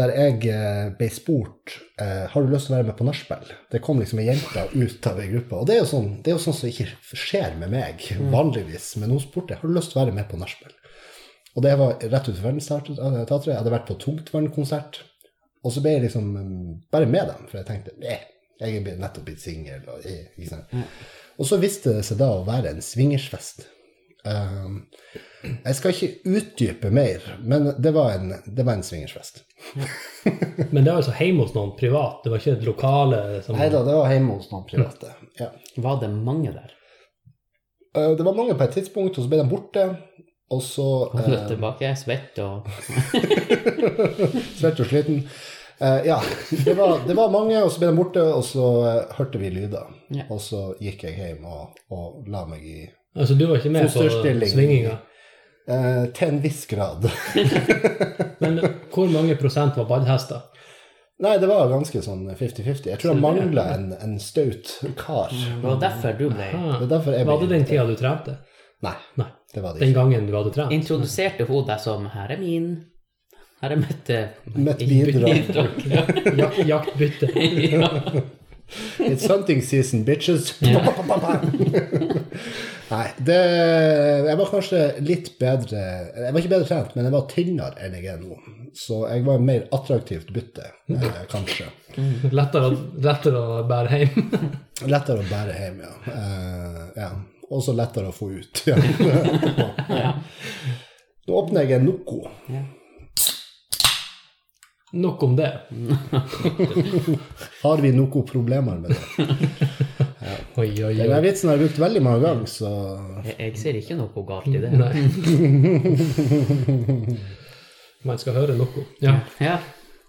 Speaker 3: Der jeg eh, ble spurt eh, har du lyst til å være med på nachspiel. Det kom liksom ei jente ut av ei gruppe. Og det er jo sånn, det er jo sånn som ikke skjer med meg vanligvis, men hun spurte har du lyst til å være med på nachspiel. Og det var rett utenfor Verdensteatret. eh, Jeg hadde vært på Tungtvannkonsert. Og så ble jeg liksom mm, bare med dem, for jeg tenkte Nei, jeg er blitt- nettopp blitt singel. Og, eh, ikke sant? og så viste det seg da å være en swingersfest. Um, jeg skal ikke utdype mer, men det var en, det var en swingersfest.
Speaker 2: Men det var altså hjemme hos noen privat, det var ikke et lokale som
Speaker 3: Nei da, det var hjemme hos noen private. Ja.
Speaker 1: Var det mange der?
Speaker 3: Eh, Det var mange på et tidspunkt, og så ble de borte. Og så
Speaker 1: Kom du
Speaker 3: eh,
Speaker 1: tilbake svett og
Speaker 3: Svett og sliten. Eh, ja, det var, det var mange, og så ble de borte, og så eh, hørte vi lyder.
Speaker 1: Ja.
Speaker 3: Og så gikk jeg hjem og, og la meg i
Speaker 2: Altså, du var ikke med på
Speaker 3: Fosterstilling.
Speaker 2: svinginga.
Speaker 3: eh, Til en viss grad. (laughs)
Speaker 2: Men hvor mange prosent var badhester?
Speaker 3: Nei, det var ganske sånn 50-50. Jeg tror jeg mangla en, en staut kar.
Speaker 1: Det var derfor du ble
Speaker 3: Det er derfor jeg
Speaker 2: Ah. Var
Speaker 3: ble-
Speaker 2: det den tida du trente?
Speaker 3: Nei,
Speaker 2: Nei.
Speaker 3: det var det
Speaker 2: Den
Speaker 3: ikke.
Speaker 2: gangen du hadde trent?
Speaker 1: Introduserte hun deg som 'her er min', 'her er mitt eh,
Speaker 3: Mitt bidrag.
Speaker 1: (laughs) bidrag'. Ja.
Speaker 2: Jak jaktbytte.
Speaker 3: It's hunting season, bitches. (laughs) Nei, det Jeg var kanskje litt bedre Jeg var ikke bedre trent, men jeg var tynnere enn jeg er nå. Så jeg var mer attraktivt bytte, eh, kanskje.
Speaker 2: Lettere, å- lettere å bære hjem.
Speaker 3: Lettere å bære hjem, ja. Eh, ja. Og så lettere å få ut. Ja. Etterpå. Nå åpner jeg en Noco.
Speaker 2: Nok om det.
Speaker 3: Har vi noen problemer med det?
Speaker 2: Oi, oi,
Speaker 3: Den
Speaker 2: oi.
Speaker 3: her vitsen har jeg brukt veldig mange ganger, så
Speaker 1: Jeg, jeg ser ikke noe galt i det.
Speaker 2: Nei. Man skal høre noe. Ja.
Speaker 1: Ja.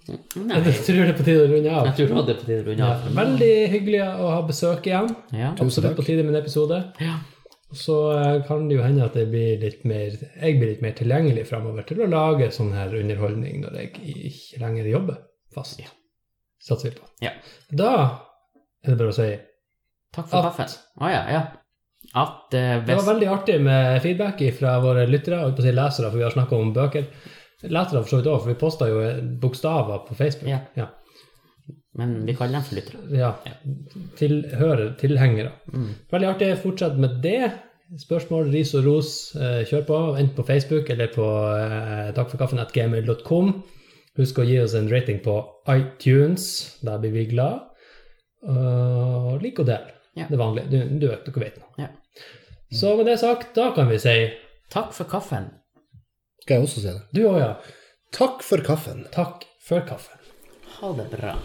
Speaker 1: Nei,
Speaker 2: Jeg tror det er på tide å runde
Speaker 1: jeg
Speaker 2: av.
Speaker 1: tror også det er på tide å runde
Speaker 2: Ja.
Speaker 1: av.
Speaker 2: Veldig hyggelig å ha besøk igjen.
Speaker 1: Ja.
Speaker 2: Absolutt på tide med en episode.
Speaker 1: Ja.
Speaker 2: Så eh, kan det jo hende at det blir litt mer, jeg blir litt mer tilgjengelig framover til å lage sånn her underholdning når jeg ikke lenger jobber fast. Satser vi på.
Speaker 1: Ja.
Speaker 2: Da er det bare å si
Speaker 1: Takk for
Speaker 2: At-
Speaker 1: kaffen. Å ja, ja. At eh,
Speaker 2: Det
Speaker 1: hvis
Speaker 2: var veldig artig med feedback fra våre lyttere og jeg holdt på å si lesere, for vi har snakka om bøker. Lesere for så vidt òg, for vi posta jo bokstaver på Facebook.
Speaker 1: Ja.
Speaker 2: Ja.
Speaker 1: Men vi kaller dem for lyttere.
Speaker 2: ja. Tilhører, tilhengere. Veldig artig. Fortsett med det. Spørsmål, ris og ros, eh, kjør på. Enten på Facebook eller på eh, takkforkaffen.gmail.com. Husk å gi oss en rating på iTunes. Der blir vi glad. Uh, lik og del.
Speaker 1: Ja.
Speaker 2: Det vanlige. Du, du vet, dere vet nå.
Speaker 1: Ja.
Speaker 2: Så med det sagt, da kan vi si
Speaker 1: Takk for kaffen.
Speaker 3: Skal jeg også si det?
Speaker 2: du òg, ja.
Speaker 3: Takk for kaffen.
Speaker 2: Takk for kaffen.
Speaker 1: Ha det bra.